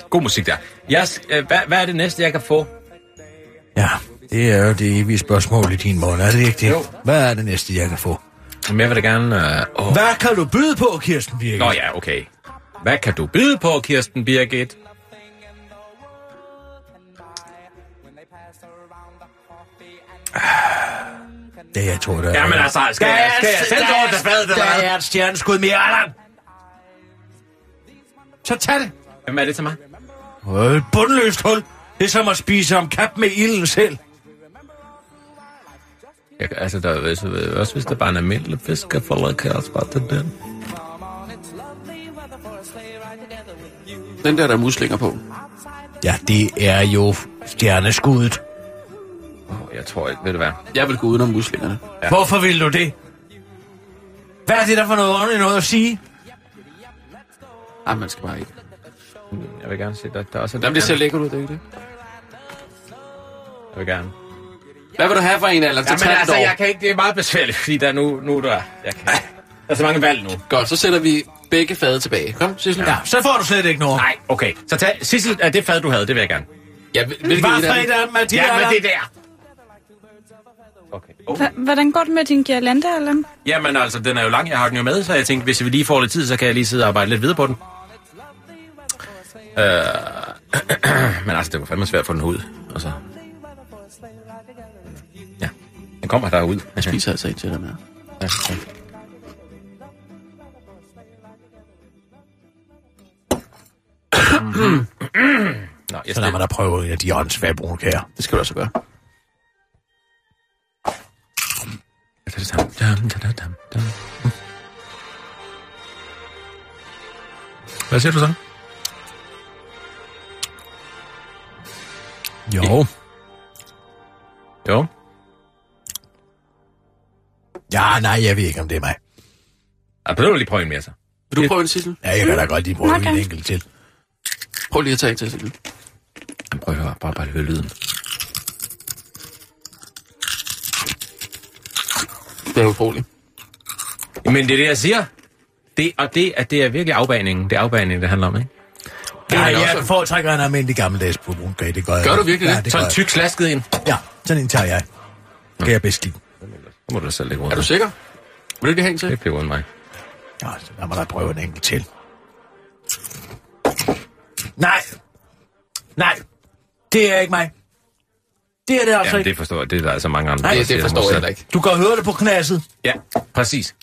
[SPEAKER 5] god musik der. Jeg, sk- øh, hvad, hvad er det næste, jeg kan få?
[SPEAKER 4] Ja, det er jo det evige spørgsmål i din mund, er det ikke det?
[SPEAKER 5] Jo.
[SPEAKER 4] Hvad er det næste, jeg kan få?
[SPEAKER 5] Jamen, jeg vil da gerne... Øh, åh.
[SPEAKER 4] Hvad kan du byde på, Kirsten Birgit?
[SPEAKER 5] Nå ja, okay. Hvad kan du byde på, Kirsten Birgit?
[SPEAKER 4] Det jeg tror, der
[SPEAKER 5] Jamen altså, skal jeg, skal jeg selv gå til fadet, eller
[SPEAKER 4] Der
[SPEAKER 5] hvad?
[SPEAKER 4] er et stjerneskud mere, Allan! Så tag det!
[SPEAKER 5] Jamen, er det til mig?
[SPEAKER 4] Øh, et bundløst hul. Det er som at spise om kap med ilden selv.
[SPEAKER 5] Jeg, kan- altså, der, er- hvis, også hvis der bare er en almindelig fisk, jeg får kan jeg også bare tage den.
[SPEAKER 2] Den der, der er muslinger på.
[SPEAKER 4] Ja, det er jo stjerneskuddet.
[SPEAKER 5] Åh, Jeg tror ikke, ved du hvad?
[SPEAKER 2] Jeg vil gå udenom muslingerne.
[SPEAKER 4] Ja. Hvorfor vil du det? Hvad er det der for noget ordentligt noget at sige?
[SPEAKER 2] Nej, Ah, man skal bare ikke.
[SPEAKER 5] Jeg vil gerne se dig. Der er også
[SPEAKER 2] Jamen, det ser lækkert ud, det er ikke det?
[SPEAKER 5] Jeg vil gerne.
[SPEAKER 2] Hvad vil du have for en alder? Så
[SPEAKER 5] Jamen
[SPEAKER 2] tag den
[SPEAKER 5] altså,
[SPEAKER 2] dog.
[SPEAKER 5] jeg kan ikke. Det er meget besværligt, fordi der er nu, nu er der... Jeg kan. Der er så mange valg nu.
[SPEAKER 2] Godt, så sætter vi begge fade tilbage. Kom, Sissel.
[SPEAKER 4] Ja, så får du slet ikke noget.
[SPEAKER 5] Nej, okay. Så tag... Sissel, er det fad, du havde? Det vil jeg gerne.
[SPEAKER 2] Ja, hvil- hvilket
[SPEAKER 4] Var
[SPEAKER 2] et af dem?
[SPEAKER 4] fredag, Mathia?
[SPEAKER 5] Ja, men det der. Okay. Oh.
[SPEAKER 6] Hva- Hvordan går det med din girlande, Allan?
[SPEAKER 5] Jamen altså, den er jo lang. Jeg har den jo med, så jeg tænkte, hvis vi lige får lidt tid, så kan jeg lige sidde og arbejde lidt videre på den. Øh... <clears throat> men altså, det var fandme svært at få den ud. Altså. Ja, den kommer derud. Jeg
[SPEAKER 2] Spiser altså ikke til den her.
[SPEAKER 5] Ja, ja. Nå, jeg
[SPEAKER 4] Så lad
[SPEAKER 5] stemmer.
[SPEAKER 4] mig da prøve en af de åndssvage brunkager.
[SPEAKER 2] Det skal du også gøre.
[SPEAKER 5] Hvad siger du så?
[SPEAKER 4] Jo.
[SPEAKER 5] Jo.
[SPEAKER 4] Ja, nej, jeg ved ikke, om det er mig.
[SPEAKER 5] Jeg prøver lige prøve en mere så.
[SPEAKER 2] Vil du prøve en, Sissel?
[SPEAKER 4] Ja, jeg kan da godt lige prøve
[SPEAKER 6] Okay.
[SPEAKER 4] en enkelt til.
[SPEAKER 2] Prøv lige at tage en til, Sissel.
[SPEAKER 5] Jamen, Prøv at høre, bare, bare høre lyden.
[SPEAKER 2] Det er utroligt.
[SPEAKER 5] Men det er det, jeg siger. Det, og det, at det er virkelig afbaningen. Det er afbaningen, det handler om, ikke?
[SPEAKER 4] Ja,
[SPEAKER 2] han
[SPEAKER 4] jeg
[SPEAKER 2] også.
[SPEAKER 4] foretrækker en almindelig gammeldags på brunkage. Det gør, jeg.
[SPEAKER 2] Gør du virkelig
[SPEAKER 4] ja,
[SPEAKER 2] det?
[SPEAKER 4] det? Gør
[SPEAKER 5] Sådan
[SPEAKER 4] jeg.
[SPEAKER 5] tyk slasket ind.
[SPEAKER 4] Ja, sådan en tager jeg. Kan jeg bedst lide.
[SPEAKER 5] Så må du da selv lægge
[SPEAKER 2] Er du
[SPEAKER 5] rundt.
[SPEAKER 2] sikker? Vil du ikke have en til?
[SPEAKER 5] Det bliver uden mig.
[SPEAKER 4] Ja, så lad mig da prøve en enkelt til. Nej. Nej. Det er ikke mig. Det er det altså
[SPEAKER 5] Jamen,
[SPEAKER 4] ikke.
[SPEAKER 5] det forstår jeg. Det er der altså mange andre,
[SPEAKER 4] Nej,
[SPEAKER 5] der
[SPEAKER 2] Det,
[SPEAKER 5] siger,
[SPEAKER 2] det forstår
[SPEAKER 5] må
[SPEAKER 2] jeg
[SPEAKER 5] selv-
[SPEAKER 2] heller ikke.
[SPEAKER 4] Du kan høre det på knæsset.
[SPEAKER 5] Ja, præcis.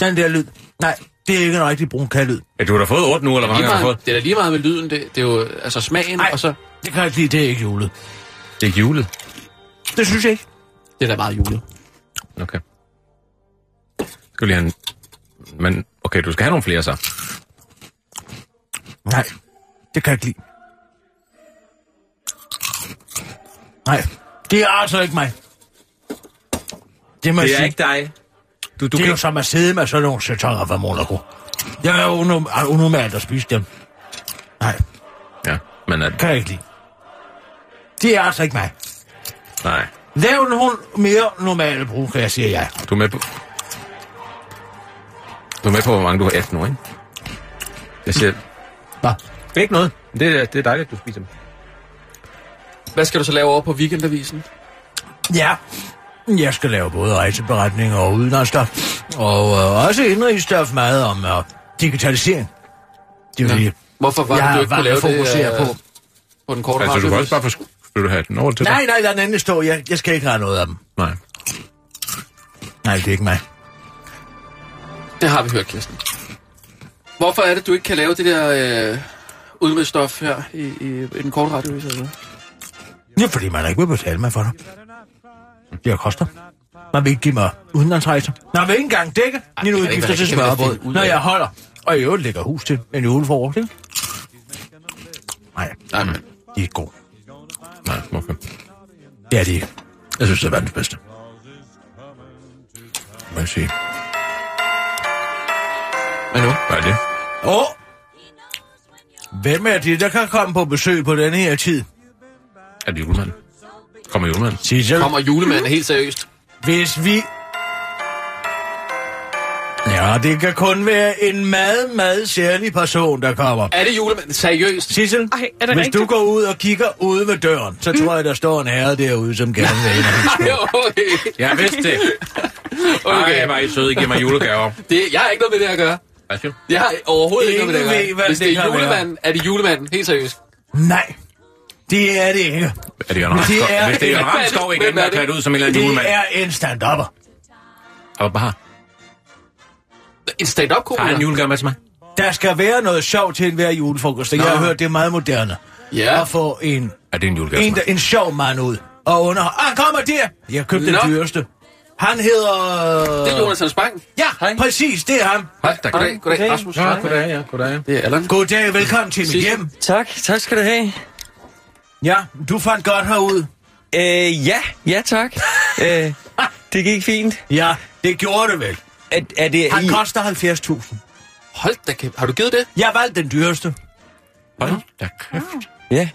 [SPEAKER 4] Den der lyd. Nej, det er ikke en rigtig brunkagelyd.
[SPEAKER 5] Ja, du har da fået 8 nu, eller hvor
[SPEAKER 2] Lige
[SPEAKER 5] mange har du
[SPEAKER 2] meget,
[SPEAKER 5] fået?
[SPEAKER 2] det er da lige meget med lyden. Det, det er jo altså smagen,
[SPEAKER 4] Nej.
[SPEAKER 2] og så...
[SPEAKER 4] Det kan jeg ikke lide. Det er ikke julet.
[SPEAKER 5] Det er julet.
[SPEAKER 4] Det synes jeg ikke.
[SPEAKER 2] Det er da meget julet.
[SPEAKER 5] Okay. Skal vi lige have en... Men okay, du skal have nogle flere så.
[SPEAKER 4] Nej, det kan jeg ikke lide. Nej, det er altså ikke mig. Det, må jeg sige.
[SPEAKER 5] dig. Du, du
[SPEAKER 4] det
[SPEAKER 5] kan
[SPEAKER 4] er jo
[SPEAKER 5] ikke...
[SPEAKER 4] som at sidde med sådan nogle sætoner fra Monaco. Jeg er unorm- unormalt at spise dem. Nej,
[SPEAKER 5] Ja, men at...
[SPEAKER 4] kan jeg ikke lide. Det er altså ikke mig.
[SPEAKER 5] Nej.
[SPEAKER 4] Lav nogle mere normale brug, kan jeg sige ja.
[SPEAKER 5] Du er med på... Du er med på, hvor mange du har ædt nu, ikke? Jeg siger...
[SPEAKER 4] Nå.
[SPEAKER 5] Det er ikke noget. Det er, det er dejligt, at du spiser dem.
[SPEAKER 2] Hvad skal du så lave over på weekendavisen?
[SPEAKER 4] Ja, jeg skal lave både rejseberetninger og udenrigsstof, og øh, også indrigsstof meget om øh, digitalisering. Det er jo det.
[SPEAKER 2] Hvorfor var det,
[SPEAKER 4] jeg
[SPEAKER 2] du ikke
[SPEAKER 4] har
[SPEAKER 2] kunne
[SPEAKER 4] valgt
[SPEAKER 2] lave
[SPEAKER 4] at fokusere
[SPEAKER 2] det
[SPEAKER 4] på.
[SPEAKER 2] øh, på den korte
[SPEAKER 5] Altså, du kan også
[SPEAKER 2] radioavis?
[SPEAKER 5] bare få... Vil du have den over til dig?
[SPEAKER 4] Nej, nej, lad den endelig stå. Jeg, jeg skal ikke have noget af dem.
[SPEAKER 5] Nej.
[SPEAKER 4] Nej, det er ikke mig.
[SPEAKER 2] Det har vi hørt, Kirsten. Hvorfor er det, du ikke kan lave det der øh, udenrigsstof her i, i, i den korte radioavis? Altså?
[SPEAKER 4] Det er fordi, man ikke vil betale mig for det. Det har koster. Man vil ikke give mig udenlandsrejser. Man vil ikke engang dække mine
[SPEAKER 2] kan da
[SPEAKER 4] udgifter
[SPEAKER 2] ikke
[SPEAKER 4] til
[SPEAKER 2] være rigtig
[SPEAKER 4] smørbrød,
[SPEAKER 2] kæmpe ud
[SPEAKER 4] når
[SPEAKER 2] af.
[SPEAKER 4] jeg holder. Og i øvrigt lægger hus til en uge for året, ikke? Nej,
[SPEAKER 2] Nej, men
[SPEAKER 4] de er ikke gode.
[SPEAKER 5] Nej, okay.
[SPEAKER 4] Det er de ikke. Jeg synes, det er verdens bedste. Må jeg sige.
[SPEAKER 2] hvad nu?
[SPEAKER 5] Hvad er det?
[SPEAKER 4] Åh! Hvem er det, der kan komme på besøg på denne her tid?
[SPEAKER 5] Er det julemanden? Kommer julemanden?
[SPEAKER 4] Sissel,
[SPEAKER 2] Kommer julemanden helt seriøst?
[SPEAKER 4] hvis vi... Ja, det kan kun være en meget, meget særlig person, der kommer.
[SPEAKER 2] Er det julemanden
[SPEAKER 5] <laughs>
[SPEAKER 2] seriøst?
[SPEAKER 4] Sissel,
[SPEAKER 6] Ej, er Mm. det
[SPEAKER 4] hvis
[SPEAKER 6] rigtigt?
[SPEAKER 4] du går ud og kigger ude ved døren, så tror jeg, der står en herre derude, som gerne vil
[SPEAKER 5] <laughs>
[SPEAKER 4] ind.
[SPEAKER 2] Ja, okay.
[SPEAKER 5] Jeg vidste det.
[SPEAKER 2] okay.
[SPEAKER 5] Ej, var I søde. I giver mig julegaver.
[SPEAKER 2] Det, jeg har ikke noget med det at gøre.
[SPEAKER 5] Hvad siger du?
[SPEAKER 2] Jeg har overhovedet ikke
[SPEAKER 4] Ingen
[SPEAKER 2] noget med det at
[SPEAKER 4] ved,
[SPEAKER 2] gøre.
[SPEAKER 4] hvad
[SPEAKER 2] Hvis
[SPEAKER 4] det
[SPEAKER 2] det er
[SPEAKER 4] kan være.
[SPEAKER 2] julemanden, er det julemanden. Helt seriøst.
[SPEAKER 4] Nej, det er det ikke.
[SPEAKER 5] Er det Jørgen Ramskov?
[SPEAKER 4] Det er-
[SPEAKER 5] Hvis det er Jørgen
[SPEAKER 2] Hvad er det?
[SPEAKER 5] Ramskov
[SPEAKER 2] Hvem
[SPEAKER 5] igen,
[SPEAKER 2] er
[SPEAKER 5] der er
[SPEAKER 2] det?
[SPEAKER 5] klædt ud som en eller anden julemand.
[SPEAKER 4] Det er en stand-upper.
[SPEAKER 5] Og bare,
[SPEAKER 2] En stand-up-komiker?
[SPEAKER 5] har han en julegave med til mig?
[SPEAKER 4] Der skal være noget sjovt til enhver julefrokost. og Jeg har hørt, det er meget moderne.
[SPEAKER 2] Ja.
[SPEAKER 4] At få en,
[SPEAKER 5] Er det en julegave til
[SPEAKER 4] en, der,
[SPEAKER 5] mig?
[SPEAKER 4] en sjov mand ud og under. Ah, kommer der! Jeg købte den
[SPEAKER 2] Nå.
[SPEAKER 4] dyreste. Han hedder...
[SPEAKER 2] Det er Jonathan Spang.
[SPEAKER 4] Ja, Hej. præcis, det er ham.
[SPEAKER 5] Hold da,
[SPEAKER 2] Goddag, goddag, Rasmus.
[SPEAKER 5] Ja, goddag, ja, goddag.
[SPEAKER 2] Det er Allan.
[SPEAKER 4] Goddag, velkommen til mit
[SPEAKER 2] Sig.
[SPEAKER 4] hjem.
[SPEAKER 7] Tak, tak skal du have.
[SPEAKER 4] Ja, du fandt godt herud.
[SPEAKER 7] Øh, ja, ja
[SPEAKER 4] <laughs>
[SPEAKER 7] tak. øh, det gik fint.
[SPEAKER 4] Ja, det gjorde det vel.
[SPEAKER 7] Er, er det
[SPEAKER 4] Han
[SPEAKER 7] i...
[SPEAKER 4] koster 70.000.
[SPEAKER 2] Hold da kæft. Har du givet det?
[SPEAKER 4] Jeg valgte den dyreste.
[SPEAKER 5] Hold da kæft.
[SPEAKER 7] Ja.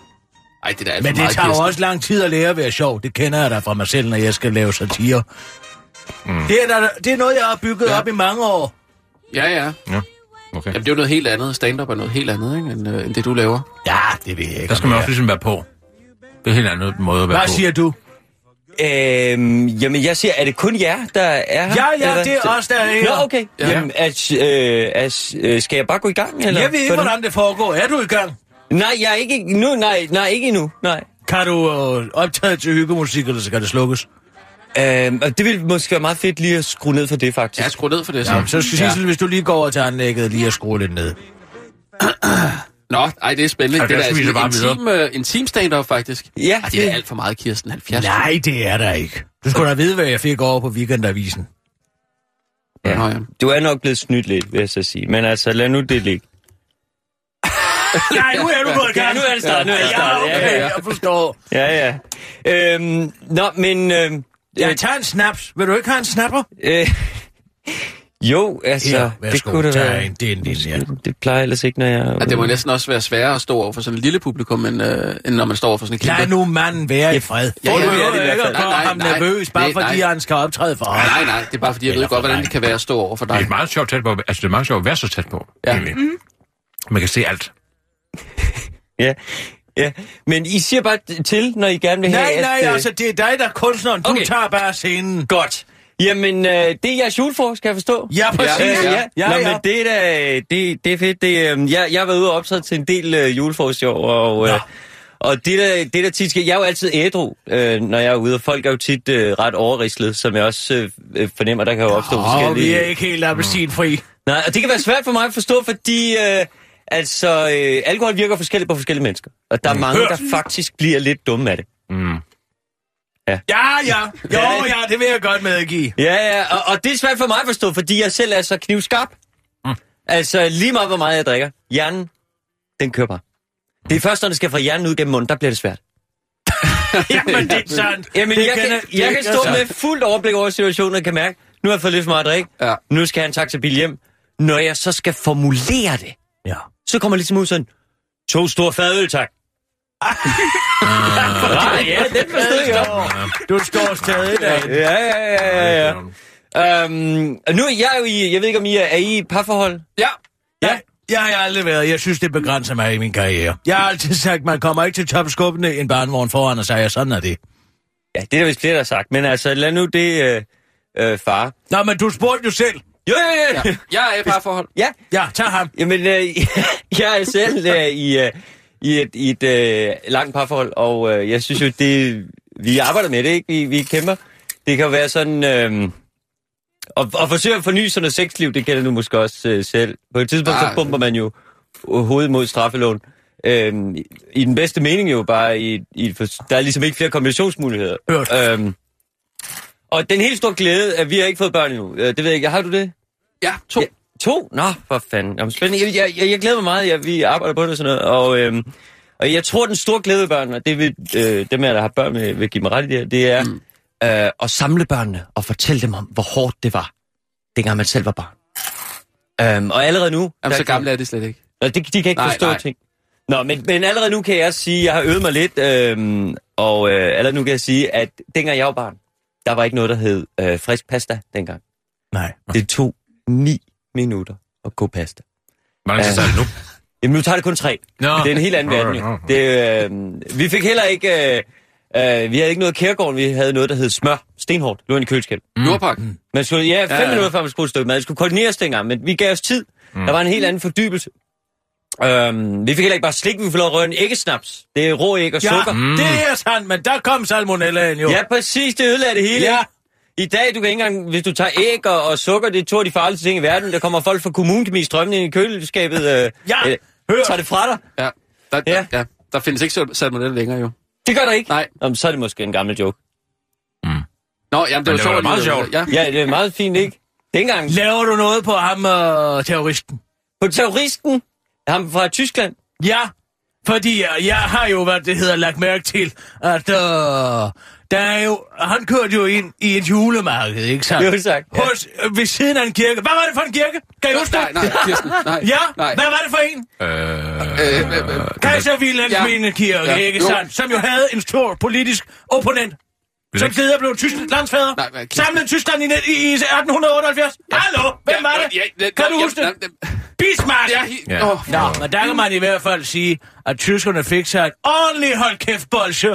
[SPEAKER 2] Ej, det er da alt
[SPEAKER 4] Men
[SPEAKER 2] for
[SPEAKER 4] det
[SPEAKER 2] meget,
[SPEAKER 4] tager jo
[SPEAKER 2] Kirsten.
[SPEAKER 4] også lang tid at lære at være sjov. Det kender jeg da fra mig selv, når jeg skal lave satire. Mm. Det, er der, det er noget, jeg har bygget
[SPEAKER 2] Ja.
[SPEAKER 4] ja. op i mange år.
[SPEAKER 2] Ja, ja.
[SPEAKER 5] Ja, okay.
[SPEAKER 2] Jamen, det er jo noget helt andet. Stand-up er noget helt andet, ikke, end, øh, end det, du laver.
[SPEAKER 4] Ja, det ved jeg ikke.
[SPEAKER 5] Der skal man
[SPEAKER 4] om
[SPEAKER 5] også
[SPEAKER 4] jeg
[SPEAKER 5] ligesom være på. Det er en helt anden måde at
[SPEAKER 4] er.
[SPEAKER 5] være
[SPEAKER 4] Hvad
[SPEAKER 5] på.
[SPEAKER 4] siger du?
[SPEAKER 7] Øhm, jamen, jeg siger, er det kun jer, der er her?
[SPEAKER 4] Ja, ja,
[SPEAKER 7] Eller-
[SPEAKER 4] det er os, der er her.
[SPEAKER 7] Nå, okay.
[SPEAKER 2] Ja.
[SPEAKER 7] Ja. Jamen, at, øh, at, øh, skal jeg bare gå i gang, eller?
[SPEAKER 4] Jeg ved ikke, hvordan det foregår. Er du i gang?
[SPEAKER 7] Nej, jeg er ikke... Nu, nej, nej, ikke endnu. Nej.
[SPEAKER 4] Kan du øh, optage til hyggemusik, eller så kan det slukkes?
[SPEAKER 7] Øhm, og det ville måske være meget fedt lige at skrue ned for det, faktisk.
[SPEAKER 2] Jeg har skruet ned for det, så.
[SPEAKER 4] Ja, så skal Sissel, hvis du lige går over til anlægget, lige at skrue lidt ned.
[SPEAKER 2] Nå, ej, det er spændende.
[SPEAKER 5] Ej,
[SPEAKER 2] det er
[SPEAKER 5] der skal vi så
[SPEAKER 2] da
[SPEAKER 5] bare
[SPEAKER 2] altså en, team, øh, en team stand-up, faktisk.
[SPEAKER 7] Ja,
[SPEAKER 2] Ej, det er
[SPEAKER 7] det-
[SPEAKER 2] alt for meget, Kirsten. 70.
[SPEAKER 4] Nej, det er der ikke. Du skulle da vide, hvad jeg fik over på weekendavisen.
[SPEAKER 2] Ja. Nå, ja.
[SPEAKER 7] Du er nok blevet snydt lidt, vil jeg så sige. Men altså, lad nu det ligge.
[SPEAKER 4] Nej, nu er du gået i
[SPEAKER 7] Ja, nu er det snart, nu er det
[SPEAKER 4] Ja,
[SPEAKER 7] snart. Ja,
[SPEAKER 4] okay,
[SPEAKER 7] ja.
[SPEAKER 4] jeg forstår.
[SPEAKER 7] Ja, ja. Øhm, nå, men... Øhm,
[SPEAKER 4] Jeg tager en snaps. Vil du ikke have en snapper?
[SPEAKER 7] Øh, jo, altså,
[SPEAKER 4] Her,
[SPEAKER 7] det
[SPEAKER 4] værsgo.
[SPEAKER 7] kunne det
[SPEAKER 4] Tag
[SPEAKER 7] være.
[SPEAKER 4] en, det er en linje.
[SPEAKER 7] Det plejer ellers ikke, når jeg...
[SPEAKER 2] Ja, det må næsten også være sværere at stå over for sådan et lille publikum, end, øh, end når man står over for sådan en kæmpe...
[SPEAKER 4] Lad nu manden være i fred.
[SPEAKER 2] Ja,
[SPEAKER 4] Ja,
[SPEAKER 2] ja,
[SPEAKER 4] ja,
[SPEAKER 2] ja, det er
[SPEAKER 4] ja,
[SPEAKER 2] det i
[SPEAKER 4] det er
[SPEAKER 2] hvert
[SPEAKER 4] ikke
[SPEAKER 2] fald.
[SPEAKER 4] at gøre
[SPEAKER 2] Nej, nej,
[SPEAKER 4] ham
[SPEAKER 2] nej.
[SPEAKER 4] nervøs,
[SPEAKER 2] Nej,
[SPEAKER 4] bare fordi
[SPEAKER 2] nej.
[SPEAKER 4] han skal optræde for
[SPEAKER 2] Nej,
[SPEAKER 4] ham.
[SPEAKER 2] nej, nej. Det er bare fordi, jeg ved
[SPEAKER 4] Eller
[SPEAKER 2] godt,
[SPEAKER 4] for
[SPEAKER 2] hvordan
[SPEAKER 4] dig.
[SPEAKER 2] det kan være at stå over for
[SPEAKER 5] Det
[SPEAKER 2] dig.
[SPEAKER 5] er meget sjovt tæt på. Altså, det er meget sjovt at være så tæt på,
[SPEAKER 2] Ja.
[SPEAKER 5] ja. egentlig. Man kan se alt.
[SPEAKER 7] Ja, ja. Men I siger bare t- til, når I gerne vil have...
[SPEAKER 4] Nej, nej,
[SPEAKER 7] at, øh,
[SPEAKER 4] altså, det er dig, der er kunstneren. Du
[SPEAKER 7] Okay.
[SPEAKER 4] tager bare scenen.
[SPEAKER 7] Godt. Jamen, øh, det er jeres jul for, skal jeg forstå.
[SPEAKER 4] Ja, præcis.
[SPEAKER 7] Øh,
[SPEAKER 2] Ja,
[SPEAKER 7] ja, ja. Nå, men det er da, øh, det, det er fedt. Det, øh, jeg, jeg har været ude og optræde til en del øh, julefors i år, og, øh, og det der, det der tit sker, jeg er jo altid ædru, øh, når jeg er ude, og folk er jo tit øh, ret overrislet, som jeg også øh, øh, fornemmer, der kan jo opstå
[SPEAKER 4] Åh,
[SPEAKER 7] forskellige...
[SPEAKER 4] vi er ikke helt appelsinfri.
[SPEAKER 7] Nej, og det kan være svært for mig at forstå, fordi øh, altså, øh, alkohol virker forskelligt på forskellige mennesker. Og der er mange, der faktisk bliver lidt dumme af det.
[SPEAKER 5] Mm.
[SPEAKER 7] Ja.
[SPEAKER 4] Ja, ja. Jo, ja, det vil jeg godt
[SPEAKER 7] <laughs>
[SPEAKER 4] medgive.
[SPEAKER 7] Ja, ja, og, og det er svært for mig at forstå, fordi jeg selv er så knivskarp. Mm. Altså, lige meget hvor meget jeg drikker. Hjernen, den kører bare. Det er først, når det skal fra hjernen ud gennem munden, der bliver det svært.
[SPEAKER 4] Jamen, det er sådan.
[SPEAKER 7] Jamen,
[SPEAKER 4] det
[SPEAKER 7] jeg,
[SPEAKER 4] kender-
[SPEAKER 7] kan, jeg
[SPEAKER 4] det
[SPEAKER 7] kan
[SPEAKER 4] kender-
[SPEAKER 7] stå med fuldt overblik over situationen og kan mærke, nu har jeg fået lidt for meget at drikke.
[SPEAKER 2] Ja.
[SPEAKER 7] Nu skal jeg have en taxabil hjem. Når jeg så skal formulere det,
[SPEAKER 4] Ja.
[SPEAKER 7] så kommer jeg ligesom ud sådan, to store fadøl, tak. Nej, ja, den forstod jeg godt.
[SPEAKER 4] Du står stadig der.
[SPEAKER 7] Ja, ja, ja, ja, ja. Øhm, og nu er jeg jo i, jeg ved ikke om I er, er I i et parforhold?
[SPEAKER 2] Ja.
[SPEAKER 4] Ja. Jeg har aldrig været. Jeg synes, det begrænser mig i min karriere. Jeg har altid sagt, man kommer ikke til topskubbene en barnvogn foran, og så er jeg sådan er det.
[SPEAKER 7] Ja, det er der vist flere, der har sagt, men altså lad nu det øh, øh, far.
[SPEAKER 4] Nå, men du spurgte jo selv.
[SPEAKER 7] Jo, jo, jo.
[SPEAKER 2] ja. Jeg er i et parforhold.
[SPEAKER 7] Ja,
[SPEAKER 4] Ja, tag ham.
[SPEAKER 7] jamen øh, <laughs> jeg er selv øh, i, øh, i et, i et øh, langt parforhold, og øh, jeg synes jo, det, vi arbejder med det, ikke? Vi, vi kæmper. Det kan jo være sådan... Øh, og, og forsøge at forny sådan noget sexliv, det kender du måske også øh, selv. På et tidspunkt, så
[SPEAKER 2] Ah.
[SPEAKER 7] pumper man jo øh, hovedet mod straffelån. Øhm, i- I den bedste mening jo bare, i, i, for, der er ligesom ikke flere kombinationsmuligheder.
[SPEAKER 4] Hørt.
[SPEAKER 7] Øhm, og den helt store glæde, at vi har ikke fået børn endnu. Øh, det ved jeg ikke. Har du det?
[SPEAKER 2] Ja, to.
[SPEAKER 7] Ja, to? Nå, for fanden. Jamen, spændende. Jeg, jeg, jeg, jeg glæder mig meget. Jeg, vi arbejder på det og sådan noget. Og, øhm, og jeg tror, den store glæde ved børnene, og det vil øh, dem af jer, der har børn, vil, vil give mig ret i det her, det er mm. øh, at samle børnene og fortælle dem om, hvor hårdt det var, dengang man selv var barn. Øhm, og allerede nu...
[SPEAKER 2] Jamen, så
[SPEAKER 7] der-
[SPEAKER 2] gamle er det slet ikke.
[SPEAKER 7] Nå, de, de kan
[SPEAKER 2] Nej,
[SPEAKER 7] ikke nej, forstå
[SPEAKER 2] nej.
[SPEAKER 7] nej. ting. Nå, men, men allerede nu kan jeg sige, at jeg har øvet mig lidt, øhm, og øh, allerede nu kan jeg sige, at dengang jeg var barn, der var ikke noget, der hed øh, frisk pasta dengang.
[SPEAKER 4] Nej.
[SPEAKER 7] Det tog ni minutter at gå pasta.
[SPEAKER 5] Hvor lang tid
[SPEAKER 7] Ja.
[SPEAKER 5] tager det nu?
[SPEAKER 7] Jamen nu tager det kun tre.
[SPEAKER 5] Nå.
[SPEAKER 7] Det er en helt anden verden.
[SPEAKER 5] Nå, nå,
[SPEAKER 7] jo.
[SPEAKER 5] nå.
[SPEAKER 7] Det, øh, vi fik heller ikke... Øh, øh, vi havde ikke noget kærgården, vi havde noget, der hed smør. Stenhårdt. Det var en køleskab.
[SPEAKER 2] Mm. Nordpakken.
[SPEAKER 7] Man skulle, ja, fem
[SPEAKER 2] Ja, ja.
[SPEAKER 7] ja. minutter før man skulle et stykke mad. Det skulle koordineres dengang, men vi gav os tid. Mm. Der var en helt anden fordybelse. Øhm, vi fik heller ikke bare slik, vi fik lov at røre en æggesnaps. Det er rå æg og
[SPEAKER 4] Ja,
[SPEAKER 7] sukker.
[SPEAKER 4] mm. det er sandt, men der kom salmonellaen jo.
[SPEAKER 7] Ja, præcis. Det ødelagde det hele.
[SPEAKER 4] Ja.
[SPEAKER 7] Ja. I dag, du kan ikke engang, hvis du tager æg og, og sukker, det er to af de farligste ting i verden. Der kommer folk fra kommunen, strømmen ind i køleskabet. Øh,
[SPEAKER 4] Ja,
[SPEAKER 7] øh,
[SPEAKER 4] hør.
[SPEAKER 7] tager det fra dig.
[SPEAKER 2] Ja. Der, ja.
[SPEAKER 7] Ja.
[SPEAKER 2] ja. Der findes ikke sal- salmonella længere, jo.
[SPEAKER 7] Det gør der ikke.
[SPEAKER 2] Nej.
[SPEAKER 7] Jamen, så er det måske en gammel joke.
[SPEAKER 2] Nå, jamen, det
[SPEAKER 5] Men
[SPEAKER 2] var,
[SPEAKER 5] det var
[SPEAKER 2] sjovt.
[SPEAKER 5] da meget
[SPEAKER 2] alligevel.
[SPEAKER 5] sjovt.
[SPEAKER 2] Ja.
[SPEAKER 7] Ja, det er meget fint, ikke? Dengang.
[SPEAKER 4] Laver du noget på ham, øh, terroristen?
[SPEAKER 7] På terroristen, ham fra Tyskland.
[SPEAKER 4] Ja, fordi øh, jeg, jeg har jo, hvad det hedder, lagt mærke til, at øh, der er jo, han kørte jo ind i et julemarked, ikke sandt?
[SPEAKER 7] Jo, tak. Ja.
[SPEAKER 4] Hos, øh, ved siden af en kirke. Hvad var det for en kirke? Kan I huske
[SPEAKER 2] Nej,
[SPEAKER 4] det?
[SPEAKER 2] nej, Kirsten, nej.
[SPEAKER 4] Ja,
[SPEAKER 2] nej.
[SPEAKER 4] hvad var det for en?
[SPEAKER 2] Øh, øh, øh,
[SPEAKER 4] Kaiser Wilhelms
[SPEAKER 2] Ja.
[SPEAKER 4] ja. Mindekirke,
[SPEAKER 2] Ja.
[SPEAKER 4] ja. ikke
[SPEAKER 2] Jo.
[SPEAKER 4] sandt? Som jo havde en stor politisk opponent. Som
[SPEAKER 5] ikke-
[SPEAKER 4] tidligere blev Tyskland landsfader.
[SPEAKER 2] Nej, hvad er kirken?
[SPEAKER 4] Samlede Tyskland i, net- i, i 1878. Hallo, hvem var det?
[SPEAKER 2] Ja, ja,
[SPEAKER 4] kan
[SPEAKER 2] nå,
[SPEAKER 4] du huske
[SPEAKER 2] ja,
[SPEAKER 4] det?
[SPEAKER 2] nå,
[SPEAKER 4] Bismarck!
[SPEAKER 2] Ja, hi-
[SPEAKER 5] Ja.
[SPEAKER 2] Åh,
[SPEAKER 4] Nå, men der kan man i hvert fald sige, at tyskerne fik sig et ordentligt hold kæft bolsje.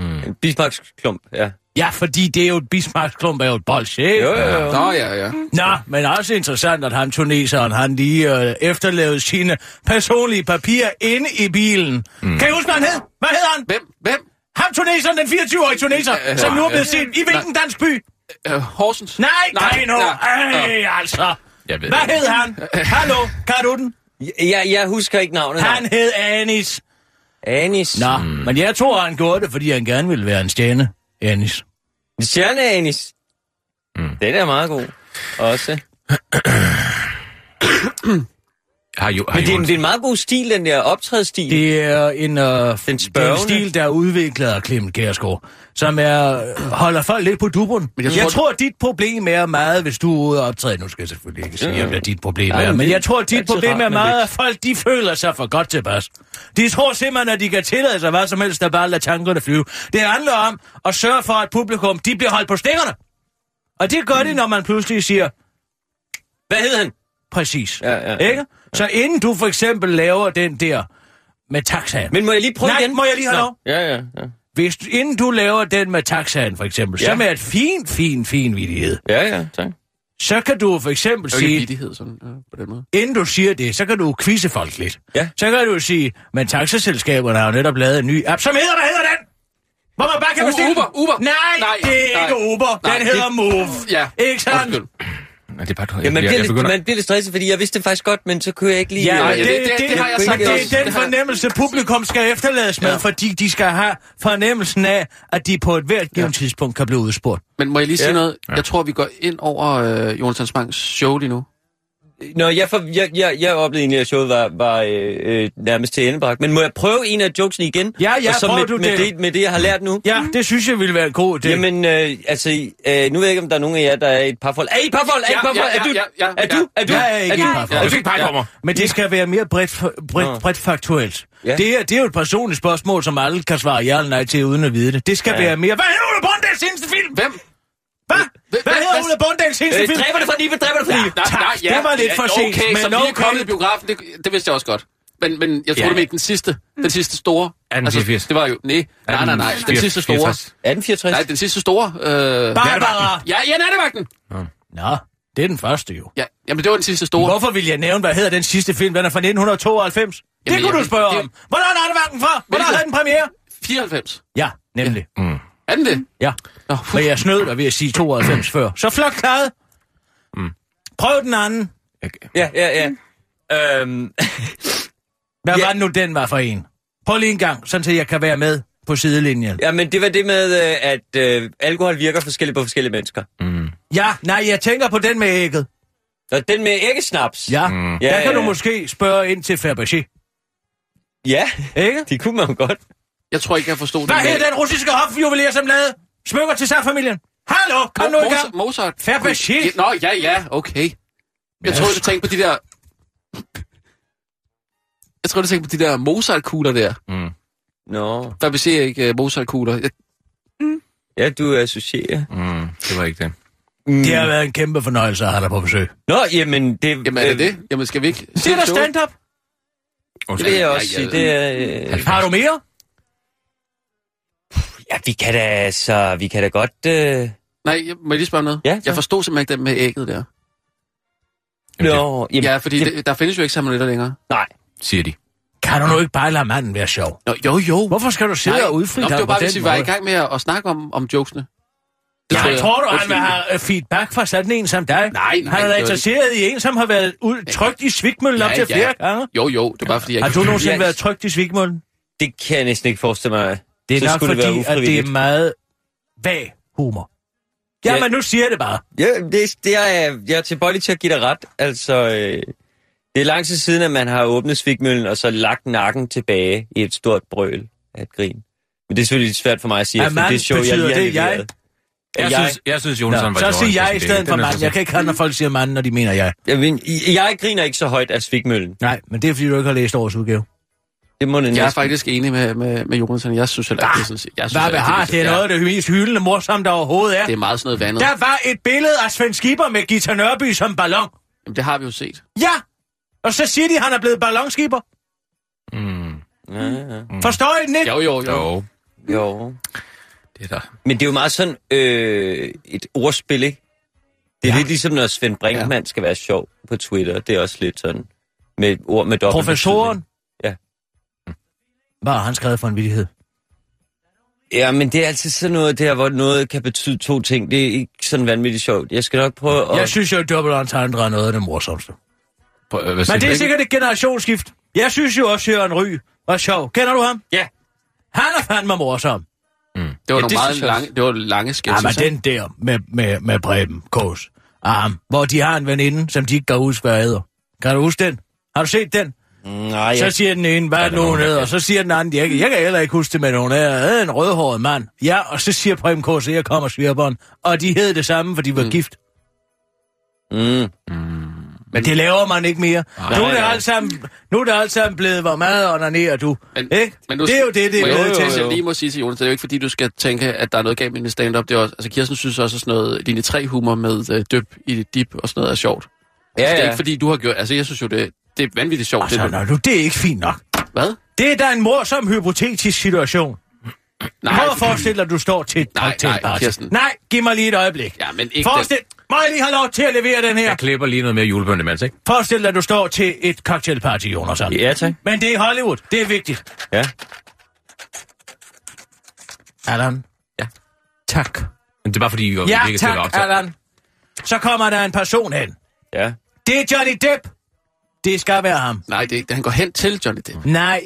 [SPEAKER 7] En Bismarcks klump, ja.
[SPEAKER 4] Ja, fordi det er jo et Bismarck-klump er jo et bolsje, ikke?
[SPEAKER 7] Jo, jo, jo.
[SPEAKER 2] Nå, ja, ja.
[SPEAKER 4] Nå, men også interessant, at han tuneseren, han lige øh, efterlevede sine personlige papirer inde i bilen. Mm. Kan I huske, hvad han hed? Hvad hed han?
[SPEAKER 2] Hvem? Hvem?
[SPEAKER 4] Ham tuneseren, den 24-årige tuneser,
[SPEAKER 2] Øh, øh,
[SPEAKER 4] som nu er
[SPEAKER 2] øh,
[SPEAKER 4] blevet set i hvilken dansk by?
[SPEAKER 2] Øh, Horsens?
[SPEAKER 4] Nej, nej, nu.
[SPEAKER 2] nej.
[SPEAKER 4] Ej, altså.
[SPEAKER 5] Jeg ved
[SPEAKER 4] Hvad
[SPEAKER 5] det.
[SPEAKER 4] hed han? Hallo, kan du den?
[SPEAKER 7] Jeg, jeg husker ikke navnet.
[SPEAKER 4] Han
[SPEAKER 7] Han.
[SPEAKER 4] hed Anis.
[SPEAKER 7] Anis.
[SPEAKER 4] Nå, mm. men jeg tror, han gjorde det, fordi han gerne ville være en stjerne. Anis.
[SPEAKER 7] Stjerne Anis. Mm. Den er meget god. Også.
[SPEAKER 5] Har, jo, har
[SPEAKER 7] Men det er, en,
[SPEAKER 5] Jonas,
[SPEAKER 7] det er en meget god stil, den der optrædsstil. Det...
[SPEAKER 4] Det er en, øh, det er en
[SPEAKER 7] spørgende.
[SPEAKER 4] stil, der er udviklet af Clement Kjærsgaard, som er, øh, holder folk lidt på dubben.
[SPEAKER 2] Men
[SPEAKER 4] Men
[SPEAKER 2] jeg
[SPEAKER 4] jeg,
[SPEAKER 2] tror,
[SPEAKER 4] jeg
[SPEAKER 2] det-
[SPEAKER 4] tror, at dit problem er meget, hvis du er ude og optræde. Nu skal jeg selvfølgelig ikke sige, om det er dit problem
[SPEAKER 7] Nej,
[SPEAKER 4] er,
[SPEAKER 7] men
[SPEAKER 4] men
[SPEAKER 7] det
[SPEAKER 4] jeg tror, at
[SPEAKER 7] er
[SPEAKER 4] dit
[SPEAKER 7] altid
[SPEAKER 4] problem
[SPEAKER 7] rart
[SPEAKER 4] er
[SPEAKER 7] med
[SPEAKER 4] meget,
[SPEAKER 7] lidt.
[SPEAKER 4] at folk de føler sig for godt tilpas. De tror simpelthen, at de kan tillade sig hvad som helst, der bare lader tankerne flyve. Det handler om at sørge for, at publikum de bliver holdt på stikkerne. Og det
[SPEAKER 7] Mm.
[SPEAKER 4] gør de, når man pludselig siger,
[SPEAKER 7] Hvad hed han?
[SPEAKER 4] præcis.
[SPEAKER 7] Ja, ja, ja.
[SPEAKER 4] Ikke? Så inden du for eksempel laver den der med taxaen,
[SPEAKER 7] Men må jeg lige prøve
[SPEAKER 4] Nej,
[SPEAKER 7] igen?
[SPEAKER 4] må jeg lige have
[SPEAKER 7] Nå.
[SPEAKER 4] lov?
[SPEAKER 7] Ja, ja, ja.
[SPEAKER 4] hvis du, inden du laver den med taxaen, for eksempel, ja.
[SPEAKER 7] Ja.
[SPEAKER 4] som er et fint, fint, fint vidighed,
[SPEAKER 7] Ja, ja, tak.
[SPEAKER 4] så kan du for eksempel
[SPEAKER 2] Det er jo ikke
[SPEAKER 4] sige,
[SPEAKER 2] vidighed, sådan øh, på den måde.
[SPEAKER 4] inden du siger det, så kan du quizze folk lidt.
[SPEAKER 7] Ja.
[SPEAKER 4] Så kan du sige, men taxaselskaberne har jo netop lavet en ny app, som hedder, hvad hedder den? Hvor man bare kan
[SPEAKER 2] U-
[SPEAKER 4] bestille den.
[SPEAKER 2] Uber, Uber.
[SPEAKER 4] Nej,
[SPEAKER 2] Nej,
[SPEAKER 4] nej, det er
[SPEAKER 2] nej.
[SPEAKER 4] nej. ikke Uber.
[SPEAKER 2] Nej,
[SPEAKER 4] den hedder
[SPEAKER 2] det-
[SPEAKER 4] Move.
[SPEAKER 2] Ja.
[SPEAKER 4] Ikke sandt?
[SPEAKER 2] Undskyld.
[SPEAKER 5] Men det er bare, du- jeg,
[SPEAKER 7] Ja, man,
[SPEAKER 5] jeg,
[SPEAKER 7] bliver
[SPEAKER 5] jeg
[SPEAKER 7] lidt,
[SPEAKER 5] begynder...
[SPEAKER 7] man bliver lidt stresset, fordi jeg vidste det faktisk godt, men så kunne jeg ikke lige... øh,
[SPEAKER 4] Ja,
[SPEAKER 2] Nej,
[SPEAKER 4] og
[SPEAKER 2] ja,
[SPEAKER 4] det,
[SPEAKER 2] det-
[SPEAKER 4] det,
[SPEAKER 2] det-
[SPEAKER 4] det,
[SPEAKER 2] det har jeg
[SPEAKER 4] men
[SPEAKER 2] sagt
[SPEAKER 4] det
[SPEAKER 2] også.
[SPEAKER 4] er den
[SPEAKER 2] Det har-
[SPEAKER 4] fornemmelse, publikum skal efterlades med,
[SPEAKER 2] Ja.
[SPEAKER 4] fordi de skal have fornemmelsen af, at de på et hvert givet tidspunkt kan blive udspurgt.
[SPEAKER 2] Men må jeg lige sige
[SPEAKER 7] Ja.
[SPEAKER 2] noget?
[SPEAKER 5] Ja.
[SPEAKER 2] Jeg tror, vi går ind over øh, Jonas Mangs show lige nu.
[SPEAKER 7] Nå, jeg, for, jeg, jeg, jeg oplevede egentlig, at showet var, var øh, øh, nærmest til endebragt. Men må jeg prøve en af jokesene igen?
[SPEAKER 4] Ja, ja,
[SPEAKER 7] Og så
[SPEAKER 4] prøv
[SPEAKER 7] med,
[SPEAKER 4] du
[SPEAKER 7] med
[SPEAKER 4] det.
[SPEAKER 7] Med det, jeg har lært nu?
[SPEAKER 4] Ja, det synes jeg ville være en god idé.
[SPEAKER 7] Jamen, øh, altså, øh, nu ved jeg ikke, om der er nogen af jer, der er i et parforhold. Er I i et parforhold? Er I i et
[SPEAKER 2] Ja,
[SPEAKER 7] parforhold?
[SPEAKER 2] ja,
[SPEAKER 7] Er du?
[SPEAKER 2] ja, ja, ja.
[SPEAKER 7] Er du? Er du? Øh,
[SPEAKER 4] Jeg er ikke i
[SPEAKER 7] du?
[SPEAKER 4] et parforhold.
[SPEAKER 7] Er
[SPEAKER 5] Jeg
[SPEAKER 7] du?
[SPEAKER 5] fik pejkommer.
[SPEAKER 4] Men det skal være mere bredt,
[SPEAKER 7] Nå.
[SPEAKER 4] bredt, bredt faktuelt.
[SPEAKER 7] Ja.
[SPEAKER 4] Ja. Det, er, det er jo et personligt spørgsmål, som alle kan svare ja eller nej til, uden at vide det. Det skal
[SPEAKER 7] Ja.
[SPEAKER 4] ja. være mere... Hvad hedder Ole Bondals seneste film?
[SPEAKER 2] Hvem?
[SPEAKER 4] Hvad? Hvad hedder
[SPEAKER 2] hvad-
[SPEAKER 4] Ole Bondals seneste
[SPEAKER 7] Øh,
[SPEAKER 4] film?
[SPEAKER 7] dræber det for livet, dræber det for livet.
[SPEAKER 2] Nej,
[SPEAKER 4] Tak,
[SPEAKER 2] nej, ja,
[SPEAKER 4] det var lidt
[SPEAKER 2] ja,
[SPEAKER 4] for sent,
[SPEAKER 2] Okay,
[SPEAKER 4] men
[SPEAKER 2] så vi er
[SPEAKER 4] okay.
[SPEAKER 2] kommet i biografen, det, det vidste jeg også godt. Men, men jeg tror,
[SPEAKER 7] Ja.
[SPEAKER 2] det var ikke den sidste. Den sidste store. Altså,
[SPEAKER 5] 1884.
[SPEAKER 2] det var jo... Nej, nej, nej, nej. Den sidste store.
[SPEAKER 7] 1864.
[SPEAKER 2] Nej, den sidste store. Øh,
[SPEAKER 4] Barbara!
[SPEAKER 2] ja, ja, nattevagten.
[SPEAKER 4] Nå, det er den første jo.
[SPEAKER 2] Ja, jamen det var den sidste store.
[SPEAKER 4] Hvorfor vil jeg nævne, hvad hedder den sidste film? Den er fra 1992.
[SPEAKER 2] Jamen,
[SPEAKER 4] det kunne
[SPEAKER 2] jeg-
[SPEAKER 4] du spørge
[SPEAKER 2] det-
[SPEAKER 4] om. Hvornår er det den fra? Hvornår
[SPEAKER 2] Hvilket?
[SPEAKER 4] havde den premiere?
[SPEAKER 2] 94.
[SPEAKER 4] Ja, nemlig.
[SPEAKER 2] Er den det?
[SPEAKER 4] Ja.
[SPEAKER 2] Nå,
[SPEAKER 4] Men jeg snød dig ved at sige 92 før. Så flot klaret. Prøv den anden.
[SPEAKER 7] Ja, ja, ja. Øhm,
[SPEAKER 4] Hvad
[SPEAKER 7] Ja.
[SPEAKER 4] var det nu, den var for en? Prøv lige en gang, sådan så jeg kan være med på sidelinjen.
[SPEAKER 7] ja, men det var det med, øh, at øh, alkohol virker forskelligt på forskellige mennesker.
[SPEAKER 4] Ja, nej, jeg tænker på den med ægget.
[SPEAKER 7] Og den med æggesnaps.
[SPEAKER 4] Ja,
[SPEAKER 5] Mm.
[SPEAKER 4] mm.
[SPEAKER 7] Ja,
[SPEAKER 4] der kan
[SPEAKER 7] ja,
[SPEAKER 4] du
[SPEAKER 7] ja.
[SPEAKER 4] måske spørge ind til Fabergé.
[SPEAKER 7] Ja,
[SPEAKER 4] Ikke?
[SPEAKER 7] det kunne man jo godt.
[SPEAKER 2] jeg tror ikke, jeg forstod
[SPEAKER 4] Hvad
[SPEAKER 2] det.
[SPEAKER 4] hedder den russiske hofjuveler, som lavede smykker til særfamilien? Hallo, kom nu i
[SPEAKER 2] Mozart.
[SPEAKER 4] gang.
[SPEAKER 2] Mozart.
[SPEAKER 4] Fabergé.
[SPEAKER 2] Ja, Nå, ja, ja, okay. Jeg tror, du tænkte på de der... Jeg tror, du tænkte på de der Mozart-kugler der.
[SPEAKER 7] Nå.
[SPEAKER 2] Der vil se ikke øh, Mozart-kugler. Jeg-
[SPEAKER 7] Ja, du associerer.
[SPEAKER 5] Mm, det var ikke det.
[SPEAKER 7] Mm.
[SPEAKER 4] Det har været en kæmpe fornøjelse at have dig på besøg.
[SPEAKER 7] Nå, jamen det...
[SPEAKER 2] Jamen,
[SPEAKER 4] Øh,
[SPEAKER 2] er det det? Jamen, skal vi ikke...
[SPEAKER 4] Det er da stand-up.
[SPEAKER 7] Det vil jeg også
[SPEAKER 2] Ja, ja.
[SPEAKER 7] sige. Det er... Øh...
[SPEAKER 4] Har du mere?
[SPEAKER 7] Ja, vi kan da altså... Vi kan da godt... Øh...
[SPEAKER 2] Nej, jeg- må jeg lige spørge om noget?
[SPEAKER 7] Ja, tak.
[SPEAKER 2] jeg forstod simpelthen ikke den med ægget der.
[SPEAKER 5] Jamen,
[SPEAKER 7] Nå, jamen,
[SPEAKER 2] Ja, fordi det, der findes jo ikke salmonella længere.
[SPEAKER 7] Nej.
[SPEAKER 5] Siger de.
[SPEAKER 4] Kan du nu ikke bare lade manden være sjov?
[SPEAKER 2] Nå, jo, jo.
[SPEAKER 4] Hvorfor skal du sidde og udfri
[SPEAKER 2] Nå, men
[SPEAKER 4] dig
[SPEAKER 2] det var bare,
[SPEAKER 4] på
[SPEAKER 2] hvis vi
[SPEAKER 4] den
[SPEAKER 2] var i
[SPEAKER 4] måde?
[SPEAKER 2] gang med at, at snakke om, om jokesene. Det
[SPEAKER 4] Jeg tror du, han
[SPEAKER 2] Undskyld.
[SPEAKER 4] vil have øh, feedback fra sådan en som dig?
[SPEAKER 2] Nej, nej,
[SPEAKER 4] Han er
[SPEAKER 2] det
[SPEAKER 4] da
[SPEAKER 2] var
[SPEAKER 4] interesseret i en, som har været ud, trygt i svigmøllen op
[SPEAKER 2] Ja,
[SPEAKER 4] til
[SPEAKER 2] ja.
[SPEAKER 4] flere gange.
[SPEAKER 2] Jo, jo, det var bare fordi, jeg
[SPEAKER 4] Har du nogensinde
[SPEAKER 7] Ja.
[SPEAKER 4] været trygt i svigmøllen?
[SPEAKER 7] det kan jeg næsten ikke forestille mig.
[SPEAKER 4] Det er
[SPEAKER 7] Så
[SPEAKER 4] nok
[SPEAKER 7] skulle det være
[SPEAKER 4] fordi, at det er
[SPEAKER 7] ufrivilligt.
[SPEAKER 4] meget vag humor.
[SPEAKER 7] Ja.
[SPEAKER 4] Jamen, nu siger jeg det bare.
[SPEAKER 7] Ja, det, det er, jeg er tilbøjelig til at give dig ret. Altså, øh, det er lang tid siden, at man har åbnet svigmøllen og så lagt nakken tilbage i et stort brøl af et grin. Men det er selvfølgelig lidt svært for mig at sige,
[SPEAKER 4] Er
[SPEAKER 7] efter
[SPEAKER 4] mand
[SPEAKER 7] det show, jeg
[SPEAKER 4] betyder
[SPEAKER 7] lige har
[SPEAKER 4] det jeg?
[SPEAKER 7] leveret.
[SPEAKER 5] Jeg, jeg, synes, jeg synes, Jonas var
[SPEAKER 4] Nå, så siger jeg i stedet for manden. Jeg kan ikke have, når folk siger manden, når de mener jeg.
[SPEAKER 7] Jeg, men, jeg griner ikke så højt af svigmøllen.
[SPEAKER 4] Nej, men det er, fordi du ikke har læst årets udgave.
[SPEAKER 7] Det må det
[SPEAKER 2] Jeg er
[SPEAKER 7] næsten.
[SPEAKER 2] faktisk enig med, med, med Jonathan. Jeg synes heller ikke, det er sådan set. Jeg synes,
[SPEAKER 4] Hvad vi
[SPEAKER 2] heller ikke,
[SPEAKER 4] har, det er noget af det mest hyldende morsomme, der overhovedet er.
[SPEAKER 2] Det er meget sådan noget vandet.
[SPEAKER 4] Der var et billede af Svend Skipper med Gita Nørby som ballon.
[SPEAKER 2] Jamen, det har vi jo set.
[SPEAKER 4] Ja! Og så siger de, at han er blevet ballonskipper.
[SPEAKER 7] Ja, ja.
[SPEAKER 4] Mm. Forstår I den ikke?
[SPEAKER 2] Jo, jo, jo.
[SPEAKER 5] Jo,
[SPEAKER 7] Jo.
[SPEAKER 5] det er der.
[SPEAKER 7] Men det er jo meget sådan øh, et ordspil, ikke? Det er ja. lidt ligesom, når Svend Brinkmann ja. skal være sjov på Twitter. Det er også lidt sådan med ord med dobbelt
[SPEAKER 4] Professoren.
[SPEAKER 7] Ja.
[SPEAKER 4] Hvad har han skrevet for en vidighed?
[SPEAKER 7] Ja, men det er altid sådan noget der, hvor noget kan betyde to ting. Det er ikke sådan vanvittigt sjovt. Jeg skal nok prøve at...
[SPEAKER 4] Jeg synes jo, at dobbelt entendre er noget af det morsomste.
[SPEAKER 5] Prøv, øh, hvad
[SPEAKER 4] Men
[SPEAKER 5] siger
[SPEAKER 4] det er
[SPEAKER 5] du?
[SPEAKER 4] sikkert et generationsskift. Jeg synes jo også, at Jørgen Ry var sjov. Kender du ham?
[SPEAKER 7] Ja.
[SPEAKER 4] Han er fandme morsom.
[SPEAKER 2] Det var nogle
[SPEAKER 7] det
[SPEAKER 2] meget
[SPEAKER 7] synes jeg
[SPEAKER 2] lange, det var lange sketches.
[SPEAKER 4] Jamen, den der med, med, med Preben Kås arm, hvor de har en veninde, som de ikke kan huske, hvad hedder. Kan du huske den? Har du set den?
[SPEAKER 7] Nej,
[SPEAKER 4] Så
[SPEAKER 7] jeg...
[SPEAKER 4] siger den ene, hvad er det nu, hun hedder? Og så siger den anden, jeg, kan- jeg kan heller ikke huske det, men hun er er en rødhåret mand. Ja, og så siger Preben K. så jeg kommer svirperen. Og de hed det samme, for de var mm. gift.
[SPEAKER 7] Mm.
[SPEAKER 4] Men det laver man ikke mere. nu, er det
[SPEAKER 7] nej, nej.
[SPEAKER 4] alt sammen, nu er det alt sammen blevet, hvor meget onanerer du?
[SPEAKER 2] Men-
[SPEAKER 4] ikke?
[SPEAKER 2] men nu-
[SPEAKER 4] det er jo det, det er
[SPEAKER 2] Men
[SPEAKER 4] blevet
[SPEAKER 2] jo, jo,
[SPEAKER 4] til.
[SPEAKER 2] jo. Jeg lige må sige til Jonas, det er jo ikke fordi, du skal tænke, at der er noget galt med din stand-up. Det er også, altså, Kirsten synes også, at sådan noget linje 3-humor med øh, døb i dit dip og sådan noget er sjovt. Ja,
[SPEAKER 7] Ja,
[SPEAKER 2] ja. Det er
[SPEAKER 7] ja.
[SPEAKER 2] ikke fordi, du har gjort... Altså, jeg synes jo, det, det er vanvittigt sjovt.
[SPEAKER 4] Altså,
[SPEAKER 2] det,
[SPEAKER 4] nå, nu, det er ikke fint nok.
[SPEAKER 2] Hvad?
[SPEAKER 4] Det er da en morsom hypotetisk situation. Nej, Prøv at forestille dig, at du står til et
[SPEAKER 2] Nej, nej,
[SPEAKER 4] cocktailparty.
[SPEAKER 2] Kirsten.
[SPEAKER 4] nej, giv mig lige et øjeblik.
[SPEAKER 2] Ja, men ikke
[SPEAKER 4] Forestil, må jeg lige have lov til at levere den her?
[SPEAKER 5] Jeg klipper lige noget mere julebønd imens, ikke?
[SPEAKER 4] Forestil dig, at du står til et cocktailparty, Jonas.
[SPEAKER 7] Ja, tak.
[SPEAKER 4] Men det er i Hollywood. Det er vigtigt.
[SPEAKER 7] Ja.
[SPEAKER 4] Allan.
[SPEAKER 2] Ja.
[SPEAKER 4] Tak.
[SPEAKER 5] Men det er bare fordi, I jo
[SPEAKER 4] Ja,
[SPEAKER 5] ikke til at
[SPEAKER 4] tak,
[SPEAKER 5] optage.
[SPEAKER 4] Allan. så kommer der en person hen.
[SPEAKER 7] Ja.
[SPEAKER 4] Det er Johnny Depp. Det skal være ham.
[SPEAKER 2] Nej, det er ikke det. Han går hen til Johnny Depp.
[SPEAKER 4] Nej.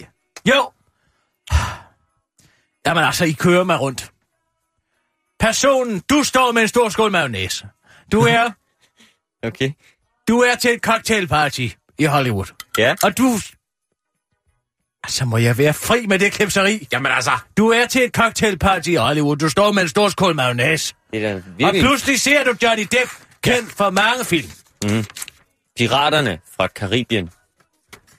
[SPEAKER 4] Jo. Jamen altså, I kører mig rundt. Personen, du står med en stor skål mayonnaise. Du
[SPEAKER 7] Mhm.
[SPEAKER 4] er,
[SPEAKER 7] Okay.
[SPEAKER 4] du er til et cocktailparty i Hollywood.
[SPEAKER 7] Ja.
[SPEAKER 4] Og du... Altså, må jeg være fri med det klipseri?
[SPEAKER 5] Jamen altså.
[SPEAKER 4] Du er til et cocktailparty i Hollywood. Du står med en stor skål mayonnaise.
[SPEAKER 7] Det er da
[SPEAKER 4] Og
[SPEAKER 7] virkelig
[SPEAKER 4] pludselig ser du Johnny Depp, kendt for mange film.
[SPEAKER 7] piraterne fra Karibien.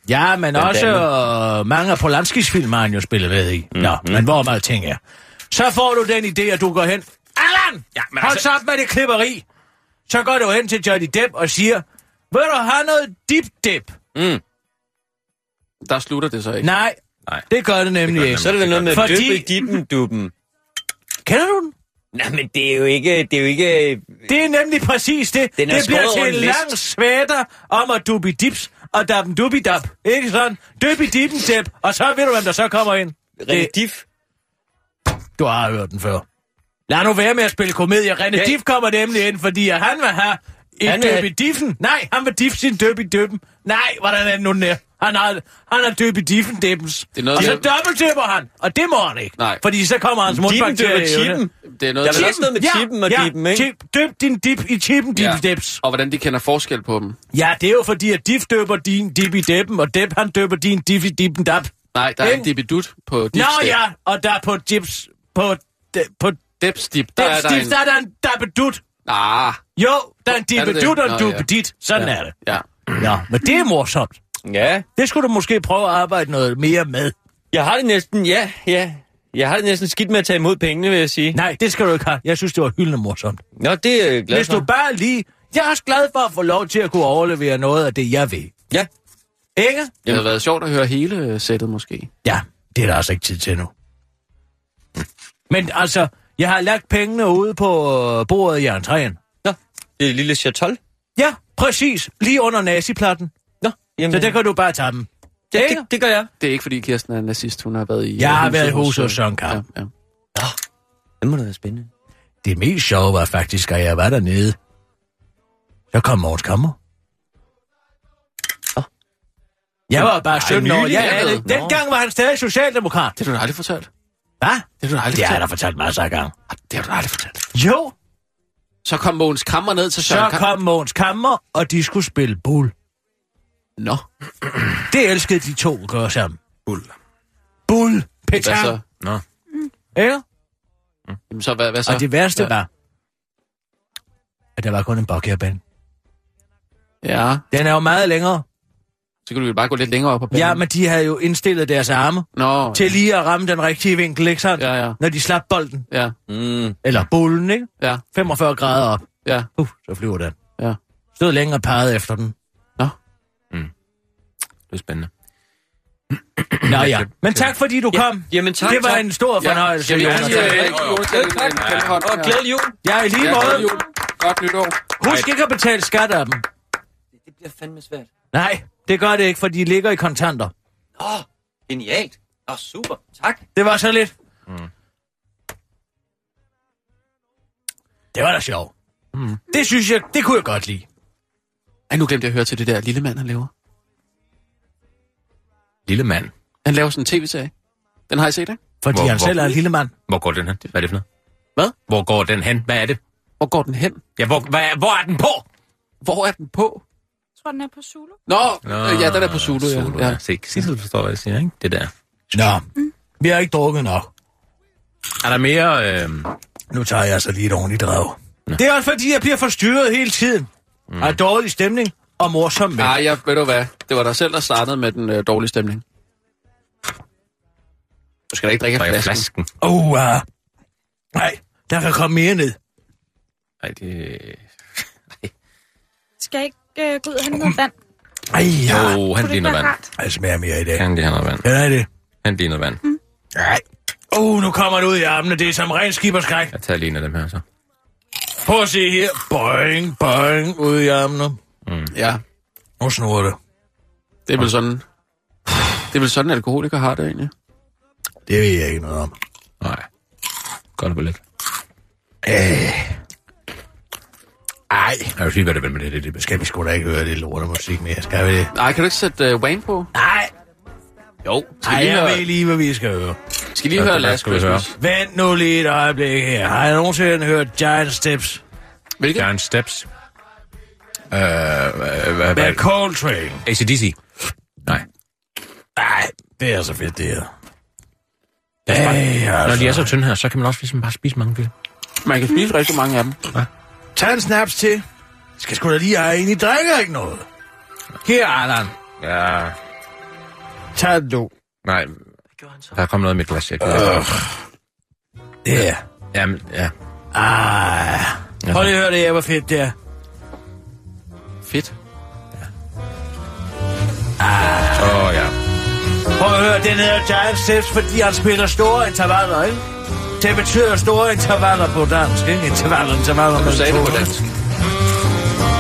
[SPEAKER 4] Ja, men
[SPEAKER 7] Blandt
[SPEAKER 4] også øh, mange af Polanskis film har han jo spillet med i. Mm. Nå, men hvor meget ting er. Så får du den idé, at du går hen. Allan! Ja,
[SPEAKER 5] men
[SPEAKER 4] Hold altså...
[SPEAKER 5] altså-
[SPEAKER 4] op med det klipperi! Så går du hen til Johnny Depp og siger, vil du have noget dip dip?
[SPEAKER 2] Der slutter det så ikke.
[SPEAKER 4] Nej,
[SPEAKER 5] Nej.
[SPEAKER 4] det gør det nemlig
[SPEAKER 5] det
[SPEAKER 4] ikke.
[SPEAKER 7] Så er det vel noget med
[SPEAKER 4] Fordi-
[SPEAKER 7] Fordi... døbe dibben dubben.
[SPEAKER 4] Kender du den?
[SPEAKER 7] Nej, men det er jo ikke... Det er jo ikke...
[SPEAKER 4] Det er nemlig præcis det.
[SPEAKER 7] Den er
[SPEAKER 4] det bliver
[SPEAKER 7] skåret over
[SPEAKER 4] til en
[SPEAKER 7] en list.
[SPEAKER 4] lang svætter om at dubi dips og dabben dubi dab. Ikke sådan? Dubi dippen dip, og så ved du, hvem der så kommer ind. Det,
[SPEAKER 7] Redif.
[SPEAKER 4] du har hørt den før. Lad nu være med at spille komedie. René
[SPEAKER 7] Ja.
[SPEAKER 4] Diff kommer nemlig ind, fordi at han vil have
[SPEAKER 7] Han
[SPEAKER 4] en
[SPEAKER 7] vil
[SPEAKER 4] døb
[SPEAKER 7] have-
[SPEAKER 4] i diffen. Nej, han vil diffe sin døb i døben. Nej, hvordan er det nu den er? Han har, han har døb i diffen dæbbens.
[SPEAKER 2] Det er noget
[SPEAKER 4] og så
[SPEAKER 2] med-
[SPEAKER 4] dobbeltdøber han, og det må han ikke.
[SPEAKER 2] Nej.
[SPEAKER 4] Fordi så kommer hans
[SPEAKER 7] Dibben
[SPEAKER 4] mundbakterier.
[SPEAKER 7] døber chippen.
[SPEAKER 2] Det er noget,
[SPEAKER 7] Jeg vil
[SPEAKER 2] med-
[SPEAKER 7] også noget med chippen og dibben, ikke?
[SPEAKER 4] Chip, døb din dip i chippen, dip ja. dips.
[SPEAKER 2] Og hvordan de kender forskel på dem.
[SPEAKER 4] Ja, det er jo fordi, at Diff døber din dip i dæppen, og Depp han døber din dip i dippen dab.
[SPEAKER 2] Nej, der er
[SPEAKER 4] Den-
[SPEAKER 2] en dibidut på dipstep.
[SPEAKER 4] Nå ja, og der er på dips, på, de, på
[SPEAKER 2] Dipstip, der
[SPEAKER 4] der
[SPEAKER 2] er der en...
[SPEAKER 4] der er der en dabbedut.
[SPEAKER 2] Ah,
[SPEAKER 4] Jo, der er en
[SPEAKER 2] Er det det?
[SPEAKER 4] dibbedut og
[SPEAKER 2] Nå,
[SPEAKER 4] en
[SPEAKER 2] ja.
[SPEAKER 4] dubbedit. Sådan er det.
[SPEAKER 2] ja.
[SPEAKER 4] Ja, men det er morsomt.
[SPEAKER 7] Ja.
[SPEAKER 4] Det skulle du måske prøve at arbejde noget mere med.
[SPEAKER 7] Jeg har det næsten... Ja, ja. Jeg har det næsten skidt med at tage imod pengene, vil jeg sige.
[SPEAKER 4] Nej, det skal du ikke have. Jeg synes, det var hyldende morsomt.
[SPEAKER 7] Nå, det er jeg glad
[SPEAKER 4] Hvis
[SPEAKER 7] for.
[SPEAKER 4] du bare lige... Jeg er også glad for at få lov til at kunne overlevere noget af det, jeg ved.
[SPEAKER 7] Ja.
[SPEAKER 4] Ikke?
[SPEAKER 2] Det havde været sjovt at høre hele øh, sættet, måske.
[SPEAKER 4] Ja, det er der altså ikke tid til nu. Men altså, jeg har lagt pengene ude på øh, bordet i entréen.
[SPEAKER 7] Nå, det er et lille chatol.
[SPEAKER 4] Ja, præcis. Lige under naziplatten.
[SPEAKER 7] Nå, jamen,
[SPEAKER 4] Så der kan du bare tage dem.
[SPEAKER 7] det,
[SPEAKER 4] ikke?
[SPEAKER 7] det, det, gør jeg.
[SPEAKER 2] Det er ikke, fordi Kirsten er nazist. Hun har været i... øh,
[SPEAKER 4] Jeg har
[SPEAKER 2] huset
[SPEAKER 4] været i huset
[SPEAKER 2] øh,
[SPEAKER 4] hos Søren Kam.
[SPEAKER 2] Ja, ja.
[SPEAKER 7] Det må da være spændende.
[SPEAKER 4] Det mest sjove var faktisk, at jeg var dernede. Så kom Mogens Kammer. Nå. Jeg var bare 17 år.
[SPEAKER 2] nylig
[SPEAKER 4] Ja,
[SPEAKER 2] er
[SPEAKER 4] ja,
[SPEAKER 2] det.
[SPEAKER 4] det- dengang var han stadig socialdemokrat.
[SPEAKER 2] Det har du da aldrig fortalt.
[SPEAKER 4] Hvad?
[SPEAKER 2] Det har du da aldrig
[SPEAKER 4] Det har
[SPEAKER 2] fortalt.
[SPEAKER 4] jeg da fortalt masser af gange.
[SPEAKER 2] Det har du da aldrig fortalt.
[SPEAKER 4] Jo,
[SPEAKER 2] Så kom Mogens Kammer ned til Søren
[SPEAKER 4] så
[SPEAKER 2] Kam.
[SPEAKER 4] kom Mogens Kammer, og de skulle spille bull.
[SPEAKER 2] Nå,
[SPEAKER 4] Det elskede de to at gøre sammen. Bull. Bull.
[SPEAKER 2] hvad så?
[SPEAKER 4] Petang.
[SPEAKER 5] Nå.
[SPEAKER 4] Ikke?
[SPEAKER 2] Jamen, så hvad, hvad så?
[SPEAKER 4] Og det værste
[SPEAKER 2] Ja.
[SPEAKER 4] var, at der var kun en bokkerband.
[SPEAKER 2] Ja,
[SPEAKER 4] Den er jo meget længere.
[SPEAKER 2] så kunne du jo bare gå lidt længere op på banen.
[SPEAKER 4] Ja, men de havde jo indstillet deres arme
[SPEAKER 2] Nå,
[SPEAKER 4] til lige at ramme den rigtige vinkel, ikke sandt?
[SPEAKER 2] ja, ja,
[SPEAKER 4] Når de slap bolden,
[SPEAKER 2] ja,
[SPEAKER 7] Mm.
[SPEAKER 4] eller bolden, ikke?
[SPEAKER 2] ja,
[SPEAKER 4] 45 grader op.
[SPEAKER 2] ja.
[SPEAKER 4] Uh, så flyver den.
[SPEAKER 2] Ja.
[SPEAKER 4] Stod længe og pegede efter den.
[SPEAKER 5] Det er spændende.
[SPEAKER 4] Nå ja. Men tak fordi du kom.
[SPEAKER 7] Jamen, tak,
[SPEAKER 4] det var
[SPEAKER 7] tak.
[SPEAKER 4] en stor fornøjelse,
[SPEAKER 2] Skal vi
[SPEAKER 4] Jonas.
[SPEAKER 2] give, øh, Jonas en- en- en velkommen
[SPEAKER 7] Og
[SPEAKER 2] her?
[SPEAKER 7] glædelig jul.
[SPEAKER 4] Ja, i lige
[SPEAKER 2] Ja,
[SPEAKER 4] måde.
[SPEAKER 2] god jul. Godt nytår.
[SPEAKER 4] Husk ikke at betale skat af dem.
[SPEAKER 7] Det bliver fandme svært.
[SPEAKER 4] Nej, det gør det ikke, for de ligger i kontanter.
[SPEAKER 7] Åh, genialt. Åh, super. Tak.
[SPEAKER 4] Det var så lidt. Mm. Det var da sjovt. Mm. Det synes jeg, det kunne jeg godt lide.
[SPEAKER 2] Ej, nu glemte jeg at høre til det der lille mand, han laver.
[SPEAKER 5] Lille mand.
[SPEAKER 2] Han laver sådan en tv-serie. Den har I set, ikke?
[SPEAKER 4] Fordi
[SPEAKER 5] Hvor-
[SPEAKER 4] han
[SPEAKER 5] hvor-
[SPEAKER 4] selv er en lille mand.
[SPEAKER 5] Hvor går den hen? Hvad er det for noget?
[SPEAKER 2] Hvad?
[SPEAKER 5] Hvor går den hen? Hvad er det?
[SPEAKER 2] Hvor går den hen?
[SPEAKER 5] Ja, hvor, hvad, er- hvor er den på?
[SPEAKER 2] Hvor er den på?
[SPEAKER 6] Jeg tror, den er på Zulu.
[SPEAKER 2] Nå, øh, ja, den er på Zulu, ja.
[SPEAKER 5] Solo,
[SPEAKER 2] ja.
[SPEAKER 5] ja. Se, Sissel forstår, hvad jeg siger, ikke? Det der.
[SPEAKER 4] Nå, vi har ikke drukket nok.
[SPEAKER 5] Er der mere... Øh...
[SPEAKER 4] Nu tager jeg altså lige et ordentligt drag. Det er også fordi, jeg bliver forstyrret hele tiden. Mm. Af dårlig stemning og morsom mænd.
[SPEAKER 2] Ej, jeg, ved du hvad? Det var dig selv, der startede med den øh, dårlige stemning. Du skal da ikke drikke af
[SPEAKER 5] Drikker
[SPEAKER 2] flasken.
[SPEAKER 5] flasken.
[SPEAKER 4] Oh, uh, nej, der kan komme mere ned.
[SPEAKER 5] Nej, det...
[SPEAKER 6] Skal jeg ikke øh, gå ud og hente noget vand?
[SPEAKER 4] Ej,
[SPEAKER 5] Jo,
[SPEAKER 4] ja.
[SPEAKER 5] oh, han
[SPEAKER 6] Kunne det
[SPEAKER 5] lige
[SPEAKER 6] ikke
[SPEAKER 5] noget
[SPEAKER 6] være
[SPEAKER 5] vand.
[SPEAKER 6] rart?
[SPEAKER 4] Jeg smager mere i dag.
[SPEAKER 5] Han lige noget vand.
[SPEAKER 4] Hvad er det?
[SPEAKER 5] Han lige noget vand.
[SPEAKER 4] Nej. Oh, nu kommer det ud i armene. Det er som ren skiberskræk.
[SPEAKER 5] Jeg tager lige en af dem her, så.
[SPEAKER 4] Prøv at se her. Boing, boing, ud i armene.
[SPEAKER 2] Ja,
[SPEAKER 4] Nu snurrer det.
[SPEAKER 2] det er vel sådan... Det er vel sådan, alkoholikere har det egentlig.
[SPEAKER 4] Det ved jeg ikke noget om.
[SPEAKER 5] Nej. Godt på lidt.
[SPEAKER 4] Ej,
[SPEAKER 5] Jeg vil sige, hvad det vil med det. det, det.
[SPEAKER 4] skal vi sgu da ikke høre det lort af musik mere, skal vi det?
[SPEAKER 2] Nej, kan du ikke sætte uh, Wayne på?
[SPEAKER 4] Nej,
[SPEAKER 2] Jo. Skal
[SPEAKER 4] Ej,
[SPEAKER 2] vi lige
[SPEAKER 4] jeg ved
[SPEAKER 2] høre,
[SPEAKER 4] lige, hvad vi skal høre.
[SPEAKER 2] skal lige
[SPEAKER 5] Ja,
[SPEAKER 2] høre
[SPEAKER 5] hvad
[SPEAKER 2] Last
[SPEAKER 5] skal vi høre?
[SPEAKER 2] Christmas?
[SPEAKER 4] Vent nu lige et øjeblik her. Har jeg nogensinde hørt Giant Steps?
[SPEAKER 2] Hvilket?
[SPEAKER 5] Giant Steps. Øh, hvad, hvad,
[SPEAKER 4] Med
[SPEAKER 5] hvad?
[SPEAKER 4] Coltrane.
[SPEAKER 5] ACDC. Nej.
[SPEAKER 4] Nej, det er så fedt, det her. Ej,
[SPEAKER 5] Når de
[SPEAKER 4] altså.
[SPEAKER 5] er så tynde her, så kan man også ligesom bare spise mange flere.
[SPEAKER 2] Man kan spise rigtig mange af dem.
[SPEAKER 4] Tag en snaps til. Skal sgu da lige have en, I drikker ikke noget. Her, Allan.
[SPEAKER 5] Ja.
[SPEAKER 4] Tag den nu.
[SPEAKER 5] Nej. Der kom noget i mit glas. Jeg kan
[SPEAKER 4] Der.
[SPEAKER 5] Jamen, ja.
[SPEAKER 4] Ah. Prøv lige at høre det her, hvor fedt det er.
[SPEAKER 2] Fedt.
[SPEAKER 5] Åh, oh, ja.
[SPEAKER 4] Prøv at høre, den hedder Giant Steps, fordi han spiller store intervaller, ikke? Det betyder store intervaller på dansk, ikke? Intervaller, intervaller.
[SPEAKER 2] Du
[SPEAKER 4] mellem
[SPEAKER 2] sagde
[SPEAKER 4] to.
[SPEAKER 2] det på dansk.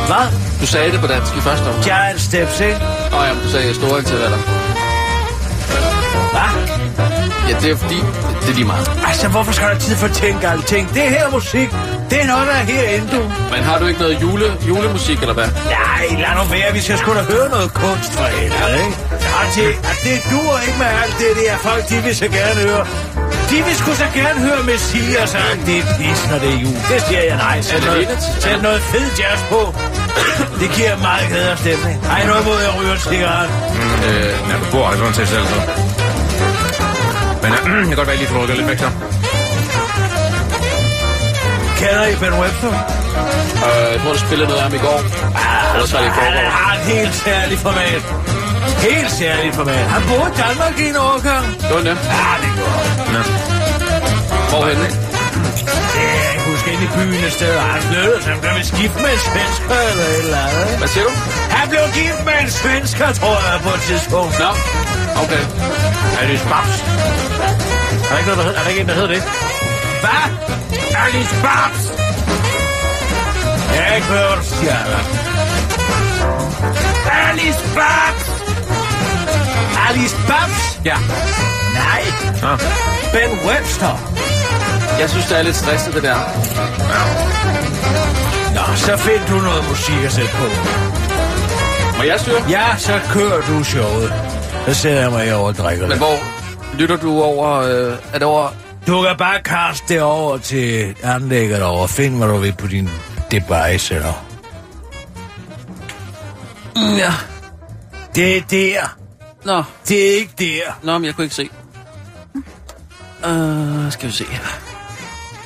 [SPEAKER 4] Hvad?
[SPEAKER 2] Du sagde det på dansk i første omgang.
[SPEAKER 4] Giant Steps, ikke?
[SPEAKER 2] Åh, oh, jamen, du sagde store intervaller.
[SPEAKER 4] Hvad?
[SPEAKER 2] Ja, det er fordi, det er lige meget.
[SPEAKER 4] Altså, hvorfor skal der tid for at tænke alting? Det her musik, det er noget, der er herinde, du.
[SPEAKER 2] Men har du ikke noget jule, julemusik, eller hvad?
[SPEAKER 4] Nej, lad nu være. Vi skal sgu da høre noget kunst for helvede, ikke? Og det, og det duer ikke med alt det der. Folk, de vil så gerne høre. De vil sgu så gerne høre Messias og alt det pis, når det er jul. Det siger jeg nej. Sæt
[SPEAKER 2] det
[SPEAKER 4] noget,
[SPEAKER 2] rigtigt?
[SPEAKER 4] sæt noget fed jazz på. Det giver meget glæder stemning. Har I noget imod, at jeg ryger en cigaret?
[SPEAKER 5] Øh, ja, du bor aldrig til selv, så. altså. Men ja, det kan godt være, at <clears throat> jeg lige får rykket lidt væk, så.
[SPEAKER 4] Kender I Ben Webster?
[SPEAKER 2] Øh, jeg tror, du spillede noget af ham i går. Ah, Ellers var det i
[SPEAKER 4] Han
[SPEAKER 2] forgår.
[SPEAKER 4] har et helt særligt format. Helt særligt format. Han boede i Danmark i en årgang.
[SPEAKER 2] Det var det.
[SPEAKER 4] Ja, Ah, det går.
[SPEAKER 5] Nå.
[SPEAKER 2] Hvorhenne?
[SPEAKER 4] Ja, jeg kan huske ind i byen et sted, og han flyttede sig. Han blev vist gift med en svensker eller et eller andet. ikke?
[SPEAKER 2] Hvad siger du?
[SPEAKER 4] Han blev gift med en svensker, tror jeg, på et tidspunkt.
[SPEAKER 2] Nå, okay.
[SPEAKER 5] Er det Spaps? Er der ikke noget, der hedder, er der ikke en, der hedder det?
[SPEAKER 4] Hvad? Alice Babs! Jeg har ikke hørt, siger jeg. Alice Babs! Alice Babs?
[SPEAKER 5] Ja.
[SPEAKER 4] Nej.
[SPEAKER 5] Ah.
[SPEAKER 4] Ben Webster.
[SPEAKER 2] Jeg synes, det er lidt stresset, det der.
[SPEAKER 4] Nå, så find du noget musik at sætte på.
[SPEAKER 2] Må jeg styre?
[SPEAKER 4] Ja, så kører du showet. Så sætter jeg mig over og drikker
[SPEAKER 2] Men
[SPEAKER 4] det.
[SPEAKER 2] hvor lytter du over... Øh, er det over...
[SPEAKER 4] Du kan bare kaste det over til anlægget over. Find, hvad du vil på din device, eller...
[SPEAKER 2] Mm, ja.
[SPEAKER 4] Det er der.
[SPEAKER 2] Nå,
[SPEAKER 4] Det er ikke der.
[SPEAKER 2] nå, men jeg kunne ikke se. Øh, skal vi se her.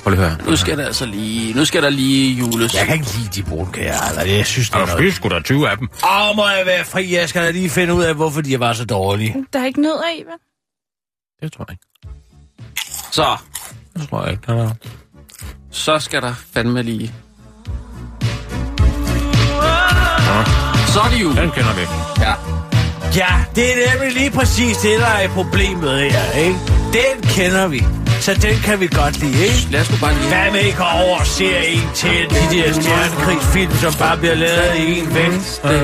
[SPEAKER 5] Prøv lige at høre.
[SPEAKER 2] Nu skal der altså lige... Nu skal der lige jules.
[SPEAKER 4] Jeg kan ikke lide de brunkager, eller jeg synes, det
[SPEAKER 5] Er
[SPEAKER 4] er
[SPEAKER 5] der
[SPEAKER 4] noget.
[SPEAKER 5] spist sgu da 20 af dem?
[SPEAKER 4] Åh, må jeg være fri? Jeg skal da lige finde ud af, hvorfor de var så dårlige.
[SPEAKER 6] Der er ikke nød af, vel?
[SPEAKER 5] Det tror jeg ikke.
[SPEAKER 2] Så,
[SPEAKER 5] Det tror jeg ikke. Der er
[SPEAKER 2] så skal der fandme lige... Så er det jul.
[SPEAKER 5] Den kender vi ikke.
[SPEAKER 2] Ja.
[SPEAKER 4] Ja, det er nemlig lige præcis det, der er problemet her, ikke? Den kender vi, så den kan vi godt lide, ikke?
[SPEAKER 2] Lad os nu bare lige...
[SPEAKER 4] Hvad med ikke at overse en til de der stjernekrigsfilm, som bare bliver lavet i en vægt? Nej,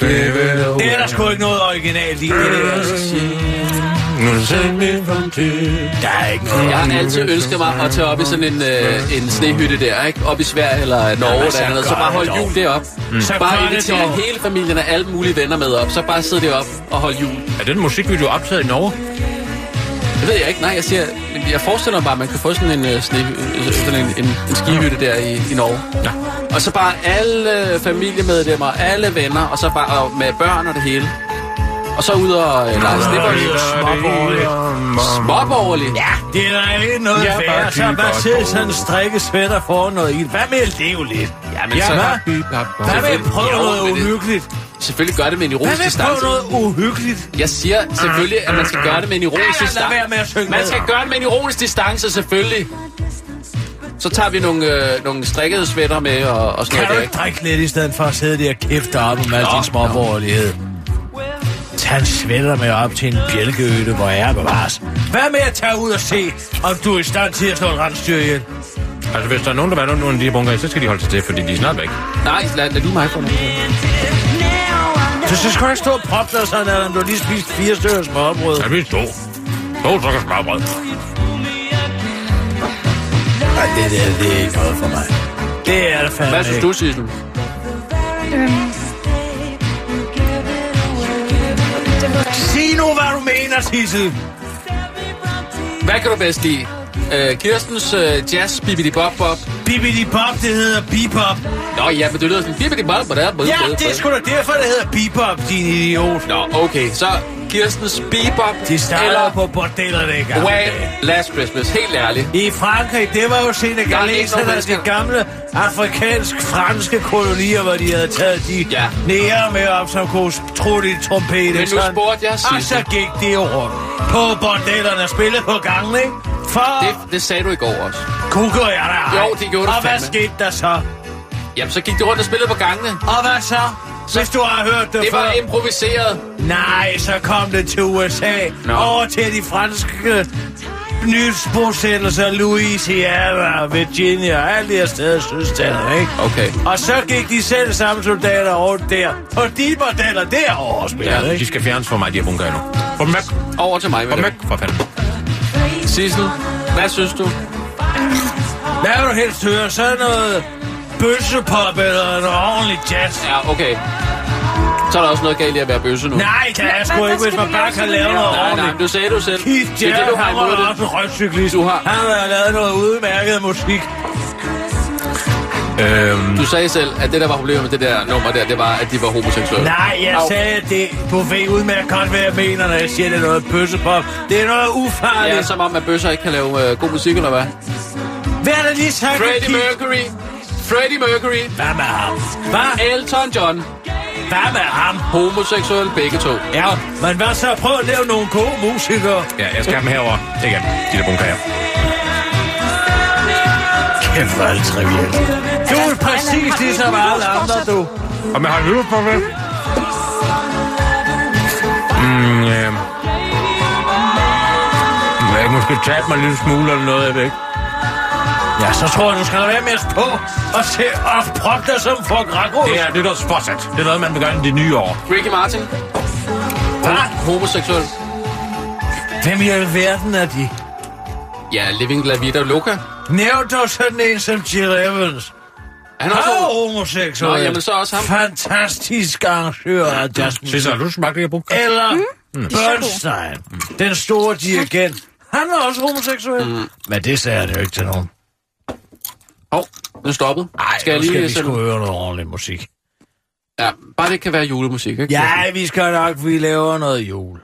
[SPEAKER 4] det er der sgu ikke noget originalt i. Det der. der er ikke noget.
[SPEAKER 2] Jeg har altid ønsket mig at tage op i sådan en, øh, en snehytte der, ikke? Op i Sverige eller Norge
[SPEAKER 4] men
[SPEAKER 2] eller
[SPEAKER 4] så
[SPEAKER 2] andet. Så
[SPEAKER 4] gør
[SPEAKER 2] bare
[SPEAKER 4] det
[SPEAKER 2] hold
[SPEAKER 4] dog. Mm.
[SPEAKER 2] jul derop.
[SPEAKER 4] Så gør
[SPEAKER 2] Bare
[SPEAKER 4] det
[SPEAKER 2] invitere
[SPEAKER 4] dog.
[SPEAKER 2] hele familien og alle mulige venner med op. Så bare sidde derop og holde jul.
[SPEAKER 5] Er den musikvideo optaget i Norge?
[SPEAKER 2] Det ved jeg ikke. Nej, jeg siger... Jeg forestiller mig bare, at man kan få sådan en, øh, sne, øh, sådan en, en, en skihytte der i, i Norge.
[SPEAKER 5] Ja.
[SPEAKER 2] Og så bare alle familiemedlemmer, alle venner, og så bare og med børn og det hele. Og så ud og øh, lege snibbold.
[SPEAKER 4] altså,
[SPEAKER 2] Småborgerlig. Ja.
[SPEAKER 4] Det er der ikke noget
[SPEAKER 5] Jeg er bare
[SPEAKER 4] værd. Så
[SPEAKER 5] dyb
[SPEAKER 4] bare
[SPEAKER 5] og
[SPEAKER 4] sidde i
[SPEAKER 5] god.
[SPEAKER 4] sådan en strikkesvætter for noget i. Hvad med at leve lidt?
[SPEAKER 2] Jamen, så,
[SPEAKER 4] hvad? Hvad med at
[SPEAKER 2] selvfølgelig.
[SPEAKER 4] prøve
[SPEAKER 2] Jo,
[SPEAKER 4] noget
[SPEAKER 2] men det-
[SPEAKER 4] uhyggeligt?
[SPEAKER 2] selvfølgelig gør det med en
[SPEAKER 4] Hvad
[SPEAKER 2] ironisk
[SPEAKER 4] med at prøve
[SPEAKER 2] distance.
[SPEAKER 4] noget uhyggeligt?
[SPEAKER 2] Jeg siger selvfølgelig, at man skal gøre det med en ironisk
[SPEAKER 4] Ja, lad
[SPEAKER 2] distance.
[SPEAKER 4] være med at synge
[SPEAKER 2] Man
[SPEAKER 4] med.
[SPEAKER 2] skal gøre det med en ironisk distance, selvfølgelig. Så tager vi nogle, øh, nogle strikkede svætter med og, og sådan
[SPEAKER 4] Kan du
[SPEAKER 2] noget.
[SPEAKER 4] ikke drikke lidt, i stedet for at sidde der og kæfte op om al din småborgerlighed? Tag en sweater med op til en bjælkeøde, hvor jeg bevares. Hvad med at tage ud og se, om du er i stand til at slå en rensdyr ihjel?
[SPEAKER 5] Altså, hvis der er nogen, der var nogen af de her bunker, i, så skal de holde sig til, fordi de er snart væk.
[SPEAKER 2] der? Nej, lad, lad du mig få noget.
[SPEAKER 4] Så så skal du ikke stå og proppe dig sådan, at du har lige spist fire stykker småbrød.
[SPEAKER 5] Er vi to? To sukker smørbrød.
[SPEAKER 4] Nej, det der, det er ikke noget for mig. Det er det fandme
[SPEAKER 2] Hvad synes
[SPEAKER 4] ikke.
[SPEAKER 2] du, Sissel?
[SPEAKER 4] Sig nu, hvad du mener, Sissel.
[SPEAKER 2] Hvad kan du bedst lide? Øh, Kirstens øh, jazz, bibidi bob bob.
[SPEAKER 4] Bibidi Bob, det hedder bebop.
[SPEAKER 2] Nå ja, men det lyder sådan, bibidi bob bob.
[SPEAKER 4] Ja, det er sgu da derfor, det hedder bebop, din idiot.
[SPEAKER 2] Nå, okay, så Kirstens bebop
[SPEAKER 4] De starter
[SPEAKER 2] eller
[SPEAKER 4] på bordellerne i gamle dage.
[SPEAKER 2] Wham! Last Christmas, helt ærligt.
[SPEAKER 4] I Frankrig, det var jo senegaleserne,
[SPEAKER 2] Der er
[SPEAKER 4] der
[SPEAKER 2] ikke
[SPEAKER 4] de
[SPEAKER 2] nogen
[SPEAKER 4] gamle afrikansk-franske kolonier, hvor de havde taget de ja.
[SPEAKER 2] Ja.
[SPEAKER 4] nære med op, som kunne trutte i trompet.
[SPEAKER 2] Men nu spurgte jeg
[SPEAKER 4] Og så
[SPEAKER 2] Sissel.
[SPEAKER 4] gik det jo rundt på bordellerne og spillede på gangen, ikke? For det...
[SPEAKER 2] Det, det sagde du i går også.
[SPEAKER 4] kukker jeg da ej.
[SPEAKER 2] Jo, det gjorde du
[SPEAKER 4] Og hvad
[SPEAKER 2] fandme.
[SPEAKER 4] skete der så?
[SPEAKER 2] Jamen, så gik de rundt og spillede på gangene.
[SPEAKER 4] Og hvad så? Hvis du har hørt det,
[SPEAKER 2] Det
[SPEAKER 4] før...
[SPEAKER 2] var improviseret.
[SPEAKER 4] Nej, så kom det til USA. No.
[SPEAKER 2] Nå.
[SPEAKER 4] Over til de franske nysbosættelser, Louisiana, Virginia, alle de her steder, sydstater, ikke?
[SPEAKER 2] Okay.
[SPEAKER 4] Og så gik de selv samme soldater rundt der, på de bordeller derovre og spillede,
[SPEAKER 5] Ja,
[SPEAKER 4] ikke?
[SPEAKER 5] de skal fjernes fra mig, de her bunker nu. Få dem væk.
[SPEAKER 2] Over til mig,
[SPEAKER 5] Få
[SPEAKER 2] med
[SPEAKER 5] dem
[SPEAKER 2] det.
[SPEAKER 5] væk, for fanden.
[SPEAKER 2] Sissel, hvad synes du?
[SPEAKER 4] Hvad vil du helst høre? Sådan noget bøssepop eller noget ordentlig jazz?
[SPEAKER 2] Ja, okay. Så er der også noget galt i at være bøsse nu.
[SPEAKER 4] Nej, det er
[SPEAKER 6] Hvad-
[SPEAKER 4] sgu
[SPEAKER 6] hvad
[SPEAKER 4] ikke, hvis
[SPEAKER 6] skal
[SPEAKER 4] man
[SPEAKER 6] vi
[SPEAKER 4] bare
[SPEAKER 6] lave
[SPEAKER 4] kan
[SPEAKER 6] sådan
[SPEAKER 4] lave
[SPEAKER 6] noget?
[SPEAKER 4] noget
[SPEAKER 2] Nej, nej,
[SPEAKER 4] ordentligt.
[SPEAKER 2] men du sagde du selv.
[SPEAKER 4] Keith
[SPEAKER 2] det er
[SPEAKER 4] Jarrett,
[SPEAKER 2] det, du har
[SPEAKER 4] han
[SPEAKER 2] imod
[SPEAKER 4] var
[SPEAKER 2] det.
[SPEAKER 4] også en røgcyklist.
[SPEAKER 2] Du har-
[SPEAKER 4] Han har lavet noget udmærket musik.
[SPEAKER 5] Øhm,
[SPEAKER 2] Du sagde selv, at det, der var problemet med det der nummer der, det var, at de var homoseksuelle.
[SPEAKER 4] Nej, jeg
[SPEAKER 2] Au.
[SPEAKER 4] sagde at det. Du ved udmærket godt, hvad jeg mener, når jeg siger, det er noget bøssepop. Det er noget ufarligt.
[SPEAKER 2] Ja,
[SPEAKER 4] Ja, så...
[SPEAKER 2] som om, at bøsser ikke kan lave øh, god musik, eller hvad?
[SPEAKER 4] Hvad er der lige sagt?
[SPEAKER 2] Freddie
[SPEAKER 4] Keith?
[SPEAKER 2] Mercury. Freddie Mercury.
[SPEAKER 4] Hvad med ham? Hvad?
[SPEAKER 2] Elton John.
[SPEAKER 4] Hvad med ham?
[SPEAKER 2] Homoseksuel begge to.
[SPEAKER 4] Ja, men hvad så? Prøv at lave nogle gode musikere.
[SPEAKER 5] ja, jeg skal have dem herover. Igen, de der bunker her.
[SPEAKER 4] Kæft, hvor er det trivielt.
[SPEAKER 5] Altså,
[SPEAKER 4] Du er præcis ligesom alle andre, du.
[SPEAKER 5] Og man har lyttet på det. Mm, øh. Jeg kan måske tabe mig en lille smule eller noget, jeg ved ikke.
[SPEAKER 4] Ja, så tror jeg, du skal lade være med at på og se og proppe dig som for Gregor.
[SPEAKER 5] Det er det, der er sportsat. Det er noget, man begynder i det nye år.
[SPEAKER 2] Ricky Martin.
[SPEAKER 4] Hvad?
[SPEAKER 2] Homoseksuel.
[SPEAKER 4] Hvem i alverden er de?
[SPEAKER 2] Ja, Living La Vida Loca.
[SPEAKER 4] Nævn dog sådan en som Jill Evans.
[SPEAKER 2] Er Han er også
[SPEAKER 4] Han er
[SPEAKER 2] homo-
[SPEAKER 4] homoseksuel.
[SPEAKER 2] Nå, jamen, så også ham.
[SPEAKER 4] Fantastisk arrangør af jazzmusik.
[SPEAKER 5] Cesar, har du smagt det her bunker?
[SPEAKER 4] Eller Mm. Bernstein, den store dirigent. Han var også homoseksuel.
[SPEAKER 2] Mm.
[SPEAKER 4] Men det sagde han jo ikke til nogen.
[SPEAKER 2] Hov, nu stoppede.
[SPEAKER 4] Nej,
[SPEAKER 2] skal jeg lige
[SPEAKER 4] skal vi
[SPEAKER 2] sætte-
[SPEAKER 4] sgu høre noget ordentlig musik.
[SPEAKER 2] Ja, bare det kan være julemusik, ikke?
[SPEAKER 4] Ja, vi skal nok, vi laver noget jul.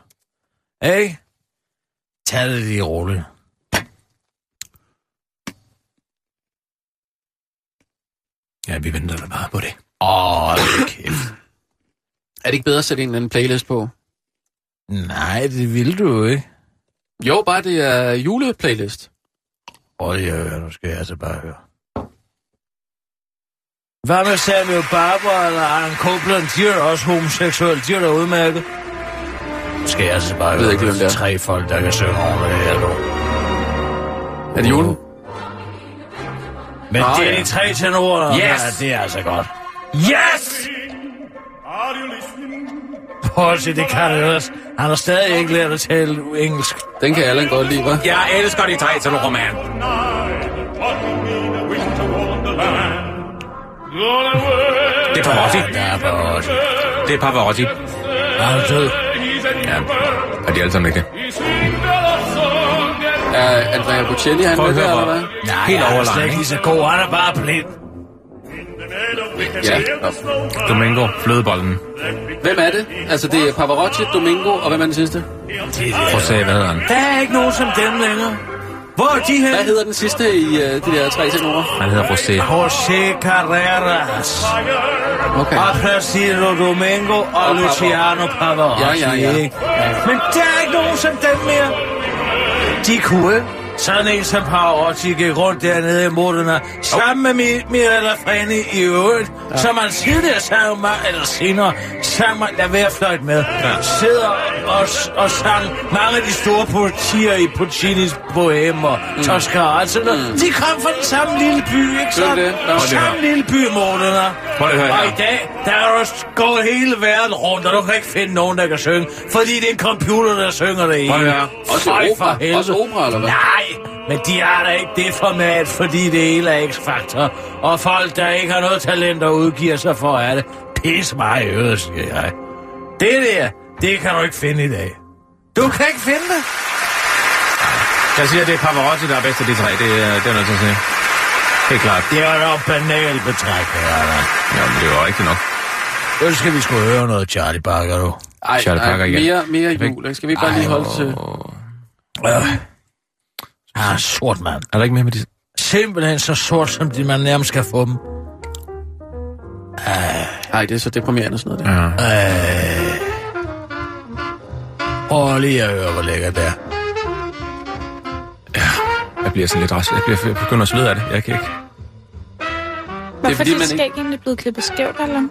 [SPEAKER 4] Ikke? Tag det lige roligt.
[SPEAKER 5] Ja, vi venter da bare på det.
[SPEAKER 4] Åh, hold kæft.
[SPEAKER 2] Er det ikke bedre at sætte en eller anden playlist på?
[SPEAKER 4] Nej, det vil du jo ikke.
[SPEAKER 2] Jo, bare det er juleplaylist.
[SPEAKER 4] Prøv lige at høre, nu skal jeg altså bare høre. Hvad med Samuel Barber eller Aaron Copeland? De er også homoseksuelle, de er da udmærket. Nu skal jeg altså bare
[SPEAKER 2] ved
[SPEAKER 4] høre,
[SPEAKER 2] ikke, hvem
[SPEAKER 4] ikke,
[SPEAKER 2] det er.
[SPEAKER 4] det tre folk, der kan synge over det her lort.
[SPEAKER 2] Er det julen?
[SPEAKER 4] Men
[SPEAKER 2] Nå,
[SPEAKER 4] det er
[SPEAKER 2] ja.
[SPEAKER 4] de tre tenorer, yes.
[SPEAKER 2] Yes!
[SPEAKER 4] ja, det er altså godt. Yes! Prøv at se, det kan det også. Han har stadig ikke lært at tale engelsk.
[SPEAKER 2] Den kan Allan godt lide, hva'?
[SPEAKER 5] Jeg elsker de tre til roman. Det er Pavarotti.
[SPEAKER 4] Der er bare også.
[SPEAKER 5] Det er Pavarotti.
[SPEAKER 4] Han er død.
[SPEAKER 5] Ja, og de er alle sammen ikke det.
[SPEAKER 2] Er Andrea Bocelli, han
[SPEAKER 5] Prøv
[SPEAKER 2] med
[SPEAKER 5] at
[SPEAKER 2] der,
[SPEAKER 5] høre,
[SPEAKER 2] eller hvad?
[SPEAKER 5] hvor
[SPEAKER 4] Nej,
[SPEAKER 5] helt
[SPEAKER 4] han er slet
[SPEAKER 5] overlegen,
[SPEAKER 4] ikke
[SPEAKER 5] ikke?
[SPEAKER 4] lige så god. Han er bare blind.
[SPEAKER 2] Ja.
[SPEAKER 5] Domingo, flødebollen.
[SPEAKER 2] Hvem er det? Altså, det er Pavarotti, Domingo, og hvem er den sidste?
[SPEAKER 5] Prøv at se, hvad hedder han?
[SPEAKER 4] Der er ikke nogen som dem længere. Hvor er de
[SPEAKER 2] Hvad
[SPEAKER 4] hen?
[SPEAKER 2] hedder den sidste i uh, de der tre tenorer?
[SPEAKER 5] Han hedder Rosé.
[SPEAKER 4] José Carreras.
[SPEAKER 2] Okay.
[SPEAKER 4] Og Placido Domingo og Luciano Pavarotti.
[SPEAKER 2] Ja, ja, ja.
[SPEAKER 4] ikke? Men der er ikke nogen som dem mere. De kunne. Sådan en som Pavarotti gik rundt dernede i Modena, sammen med Mi- Mirella Freni i øvrigt, ja. som han tidligere sang mig, eller senere, sang mig, lad være fløjt med, ja. sidder og, og sang mange af de store poetier i Puccinis Bohem og mm. Toscara. Altså, mm. De kom fra den samme lille by, ikke
[SPEAKER 2] Det er det.
[SPEAKER 4] så?
[SPEAKER 2] Nå, det er
[SPEAKER 4] Samme lille by, Modena.
[SPEAKER 5] Prøv lige at høre
[SPEAKER 4] Og
[SPEAKER 5] her.
[SPEAKER 4] i dag, der er du gået hele verden rundt, og du kan ikke finde nogen, der kan synge, fordi det er en computer, der synger det i.
[SPEAKER 5] Prøv at høre.
[SPEAKER 2] Også opera? Også opera, eller hvad?
[SPEAKER 4] Nej, men de har da ikke det format, fordi det hele er X-faktor. Og folk, der ikke har noget talent og udgiver sig for, er det. Pis mig i øret, siger jeg. Det der, det kan du ikke finde i dag. Du kan ikke finde det.
[SPEAKER 5] Jeg siger, det er Pavarotti, der er bedst af de tre. Det, er- det er noget til at sige. Helt klart.
[SPEAKER 4] Det er nok banal betrækning, Allan.
[SPEAKER 5] Ja, men det var rigtigt nok.
[SPEAKER 4] Nu skal vi sgu høre noget, Charlie Bakker, du.
[SPEAKER 2] Ej,
[SPEAKER 5] Charlie Parker igen.
[SPEAKER 2] mere, mere jul. ikke? Skal vi ikke bare lige holde til...
[SPEAKER 4] Øh. Ah, sort mand.
[SPEAKER 5] Er der ikke mere med de...
[SPEAKER 4] Simpelthen så sort, som de man nærmest kan få dem.
[SPEAKER 2] Nej, det er så deprimerende sådan noget. Der.
[SPEAKER 5] Ja.
[SPEAKER 4] Prøv lige at høre, hvor lækkert det er.
[SPEAKER 5] Jeg bliver sådan lidt rask. Jeg, bliver, jeg begynder at svede af det. Jeg kan ikke...
[SPEAKER 6] Hvorfor
[SPEAKER 2] fordi,
[SPEAKER 6] er
[SPEAKER 2] man
[SPEAKER 6] dit
[SPEAKER 2] ikke-
[SPEAKER 6] skæg egentlig blevet klippet skævt, eller?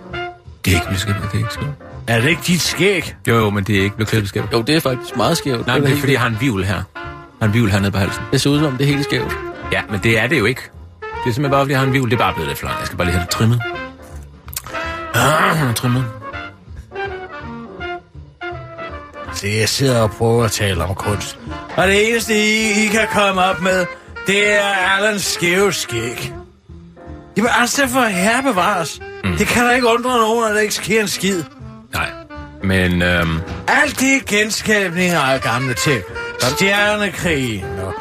[SPEAKER 5] Det er ikke blevet skævt. Det er ikke skævt.
[SPEAKER 4] Er det ikke dit skæg?
[SPEAKER 5] Jo, jo, men det er ikke blevet klippet skævt.
[SPEAKER 2] Jo, det er faktisk meget skævt. er
[SPEAKER 5] Nej, men det er
[SPEAKER 2] helt
[SPEAKER 5] fordi, jeg har en vivl her. Jeg har en vivl hernede på halsen.
[SPEAKER 2] vildt. Det ser ud som, om det er helt skævt.
[SPEAKER 5] Ja, men det er det jo ikke. Det er simpelthen bare, fordi jeg har en vivl. Det er bare blevet lidt flot. Jeg skal bare lige have det trimmet. Ah, trimmet.
[SPEAKER 4] Det jeg sidder og prøver at tale om kunst. Og det eneste, I, I kan komme op med, det er Allans skæve skæg. Jamen altså, for herre bevares. Mm. Det kan da ikke undre nogen, at der ikke sker en skid.
[SPEAKER 5] Nej. Men øhm,
[SPEAKER 4] Alt det er genskabninger af gamle ting. Stjernekrigen og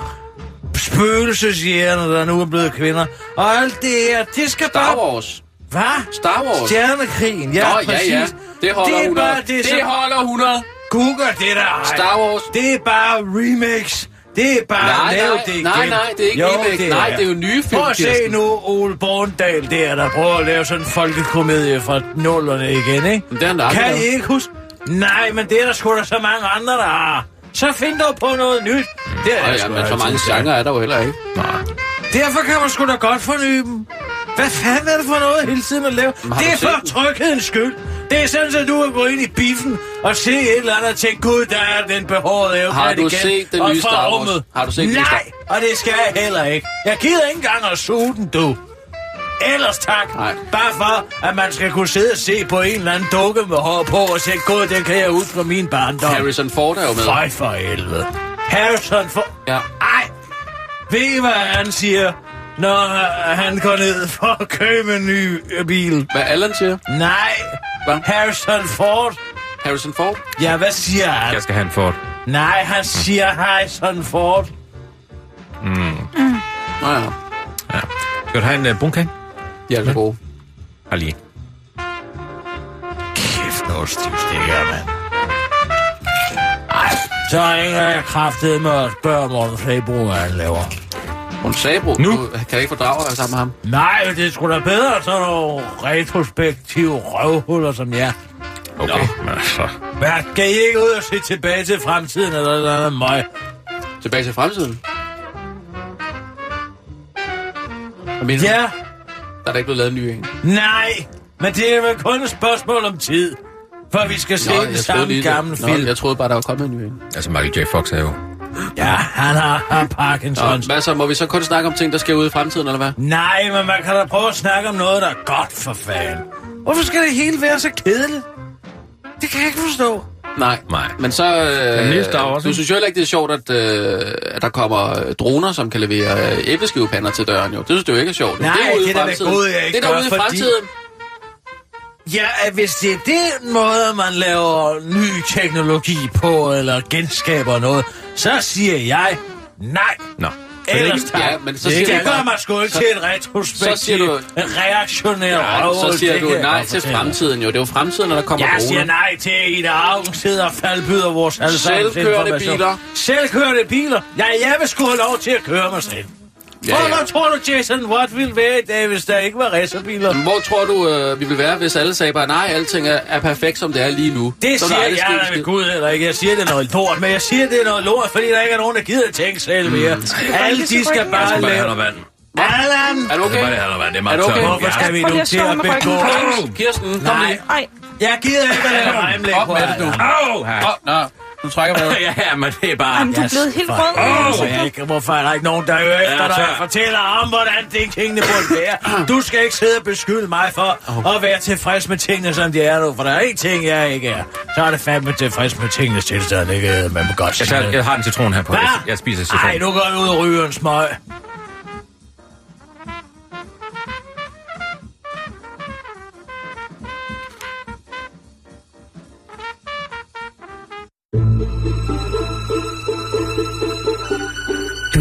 [SPEAKER 4] spøgelseshjerne, der nu er blevet kvinder. Og alt det her, det skal
[SPEAKER 2] Star
[SPEAKER 4] bare...
[SPEAKER 2] Wars.
[SPEAKER 4] Hvad?
[SPEAKER 2] Star Wars.
[SPEAKER 4] Stjernekrigen, ja,
[SPEAKER 2] Nå, ja,
[SPEAKER 4] præcis.
[SPEAKER 2] ja. Det holder
[SPEAKER 4] det er
[SPEAKER 2] 100.
[SPEAKER 4] bare det,
[SPEAKER 2] det,
[SPEAKER 4] som
[SPEAKER 2] holder 100.
[SPEAKER 4] Google det der. ej.
[SPEAKER 2] Star Wars.
[SPEAKER 4] Det er bare remix. Det er bare
[SPEAKER 2] Nej,
[SPEAKER 4] lav
[SPEAKER 2] nej,
[SPEAKER 4] det igen.
[SPEAKER 2] nej, nej, det er ikke remix. Nej, det er jo nye film,
[SPEAKER 4] Prøv at se
[SPEAKER 2] Kirsten.
[SPEAKER 4] nu Ole Borndal der, der prøver at lave sådan en folkekomedie fra nullerne igen, ikke?
[SPEAKER 2] Men det har han da aldrig
[SPEAKER 4] Kan I
[SPEAKER 2] lavet.
[SPEAKER 4] ikke huske? Nej, men det er der sgu da så mange andre, der har. Så find dog på noget nyt. Det er
[SPEAKER 2] Ja,
[SPEAKER 4] der
[SPEAKER 2] ja,
[SPEAKER 4] sgu
[SPEAKER 2] men så
[SPEAKER 4] altid.
[SPEAKER 2] mange genrer er der jo heller ikke.
[SPEAKER 5] nej.
[SPEAKER 4] Derfor kan man sgu da godt forny dem. Hvad fanden er det for noget hele tiden at lave?
[SPEAKER 2] har
[SPEAKER 4] Det
[SPEAKER 2] du
[SPEAKER 4] er
[SPEAKER 2] set
[SPEAKER 4] for
[SPEAKER 2] den?
[SPEAKER 4] tryghedens skyld. Det er sådan, at du kan gå ind i biffen og se et eller andet og tænke, gud, der er den behårede ævne
[SPEAKER 2] Har du
[SPEAKER 4] igen,
[SPEAKER 2] set den
[SPEAKER 4] og
[SPEAKER 2] nye
[SPEAKER 4] fra
[SPEAKER 2] Star Wars?
[SPEAKER 4] rummet.
[SPEAKER 2] Har du set den nye
[SPEAKER 4] Nej, og det skal jeg heller ikke. Jeg gider ikke engang at suge den, du. Ellers tak.
[SPEAKER 2] Nej.
[SPEAKER 4] Bare for, at man skal kunne sidde og se på en eller anden dukke med hår på og tænke, gud, den kan jeg ud fra min barndom.
[SPEAKER 2] Harrison Ford er jo med.
[SPEAKER 4] Føj for helvede. Harrison for...
[SPEAKER 2] Ja.
[SPEAKER 4] Ej! Ved I, hvad han siger, når øh, han går ned for at købe en ny øh, bil?
[SPEAKER 2] Hvad Allan siger?
[SPEAKER 4] Nej!
[SPEAKER 2] Hvad?
[SPEAKER 4] Harrison Ford.
[SPEAKER 2] Harrison Ford?
[SPEAKER 4] Ja, hvad siger han?
[SPEAKER 5] Jeg skal have en Ford.
[SPEAKER 4] Nej, han siger Harrison Ford.
[SPEAKER 2] Nå ja,
[SPEAKER 5] Ja. Skal du have en uh, bunkan?
[SPEAKER 2] de er altså gode.
[SPEAKER 5] Har lige.
[SPEAKER 4] Kæft, noget stivstikker, mand. Ej, så ringer jeg kraftet med at spørge Morten Flæbro, hvad han laver.
[SPEAKER 2] Hun Sabro,
[SPEAKER 5] Nu.
[SPEAKER 2] du kan ikke fordrage dig sammen med ham.
[SPEAKER 4] Nej, det er sgu da bedre, så nogle retrospektive røvhuller som jer.
[SPEAKER 5] Okay. Nå. Altså.
[SPEAKER 4] Hvad, skal I ikke ud og se tilbage til fremtiden eller noget andet møg?
[SPEAKER 2] Tilbage til fremtiden. Hvad mener
[SPEAKER 4] Ja,
[SPEAKER 2] du? Der er da ikke blevet lavet en ny en.
[SPEAKER 4] nej, men det er vel kun et spørgsmål om tid, for vi skal se Nå, den samme lige, gamle
[SPEAKER 2] Nå,
[SPEAKER 4] film.
[SPEAKER 2] jeg troede bare, der var kommet en ny en.
[SPEAKER 5] altså, Michael J. Fox er jo...
[SPEAKER 4] Ja, han har, har
[SPEAKER 2] Nå,
[SPEAKER 4] Parkinsons.
[SPEAKER 2] hvad så? Må vi så kun snakke om ting, der sker ude i fremtiden, eller hvad?
[SPEAKER 4] Nej, men man kan da prøve at snakke om noget, der er godt for fanden. Hvorfor skal det hele være så kedeligt? Det kan jeg ikke forstå.
[SPEAKER 2] Nej.
[SPEAKER 5] Nej.
[SPEAKER 2] Men så... Øh,
[SPEAKER 5] Men Niels, der er også-
[SPEAKER 2] du synes jo heller ikke, det er sjovt, at, øh, at der kommer øh, droner, som kan levere øh, æbleskivepander til døren, jo. Det synes du jo ikke er sjovt.
[SPEAKER 4] Nej,
[SPEAKER 2] det er ude i
[SPEAKER 4] det er da
[SPEAKER 2] fremtiden.
[SPEAKER 4] det gode, jeg ikke
[SPEAKER 2] Det er
[SPEAKER 4] gør,
[SPEAKER 2] derude i
[SPEAKER 4] fordi-
[SPEAKER 2] fremtiden.
[SPEAKER 4] Ja, at hvis det er den måde, man laver ny teknologi på, eller genskaber noget, så siger jeg nej.
[SPEAKER 5] Nå.
[SPEAKER 4] Ellers tak.
[SPEAKER 2] Ja, men så
[SPEAKER 4] det,
[SPEAKER 2] siger
[SPEAKER 4] det
[SPEAKER 2] du-
[SPEAKER 4] gør man sgu ikke
[SPEAKER 2] så-
[SPEAKER 4] til en retrospektiv,
[SPEAKER 2] så siger du-
[SPEAKER 4] en reaktionær
[SPEAKER 2] Ja,
[SPEAKER 4] røvhul,
[SPEAKER 2] så siger
[SPEAKER 4] det
[SPEAKER 2] du
[SPEAKER 4] kan jeg
[SPEAKER 2] nej
[SPEAKER 4] godt
[SPEAKER 2] til
[SPEAKER 4] fortælle.
[SPEAKER 2] fremtiden, jo. Det er jo fremtiden, når der kommer
[SPEAKER 4] Jeg siger
[SPEAKER 2] droner.
[SPEAKER 4] nej til, at Ida Augen sidder og faldbyder vores allesammens
[SPEAKER 2] Selvkørende
[SPEAKER 4] information.
[SPEAKER 2] biler.
[SPEAKER 4] Selvkørende biler. Ja, jeg vil sgu have lov til at køre mig selv.
[SPEAKER 2] Ja,
[SPEAKER 4] Ja,
[SPEAKER 2] ja.
[SPEAKER 4] ja. Hvor tror du, Jason Watt ville være i dag, hvis der ikke var racerbiler?
[SPEAKER 2] Hvor tror du, øh, vi vil være, hvis alle sagde bare, nej, alting er, er perfekt, som det er lige nu?
[SPEAKER 4] Det
[SPEAKER 2] så er
[SPEAKER 4] siger
[SPEAKER 2] der
[SPEAKER 4] jeg
[SPEAKER 2] aldrig sket en
[SPEAKER 4] da
[SPEAKER 2] skid.
[SPEAKER 4] ved Gud heller ikke. Jeg siger, det er noget lort, men jeg siger, det er noget lort, fordi der ikke er nogen, der gider at tænke selv
[SPEAKER 2] Mm.
[SPEAKER 4] mere. Alle
[SPEAKER 6] rykke?
[SPEAKER 4] de skal bare lave...
[SPEAKER 5] vand.
[SPEAKER 4] Allan!
[SPEAKER 2] Er du okay?
[SPEAKER 5] have noget vand. Det er
[SPEAKER 2] Er du okay?
[SPEAKER 4] Hvorfor skal vi
[SPEAKER 6] Prøv lige
[SPEAKER 4] nu
[SPEAKER 6] at
[SPEAKER 4] til
[SPEAKER 6] slå
[SPEAKER 4] at
[SPEAKER 6] mig på
[SPEAKER 4] begå...
[SPEAKER 6] ryggen.
[SPEAKER 2] Kirsten, kom
[SPEAKER 4] Nej.
[SPEAKER 2] lige.
[SPEAKER 6] Ej,
[SPEAKER 4] Jeg gider ikke at lave
[SPEAKER 2] Op
[SPEAKER 4] regnlæg på
[SPEAKER 2] med det, du.
[SPEAKER 4] Allan.
[SPEAKER 5] Au!
[SPEAKER 2] Åh, nå. Du trækker vejret.
[SPEAKER 5] ja, men det er bare...
[SPEAKER 6] Jamen, du er blevet helt
[SPEAKER 4] for-
[SPEAKER 6] rød.
[SPEAKER 4] Hvorfor, jeg ikke, hvorfor er der ikke nogen, der hører efter dig og fortæller om, hvordan det tingene burde være? Du skal ikke sidde og beskylde mig for at være tilfreds med tingene, som de er nu. For der er én ting, jeg ikke er. Så er det fandme tilfreds med tingenes tilstand, ikke? Man må godt
[SPEAKER 5] Jeg,
[SPEAKER 4] sige
[SPEAKER 5] tager,
[SPEAKER 4] det.
[SPEAKER 5] jeg har en citron her på. Jeg, jeg spiser citron.
[SPEAKER 4] Nej, nu går jeg ud og ryger en smøg.
[SPEAKER 1] Du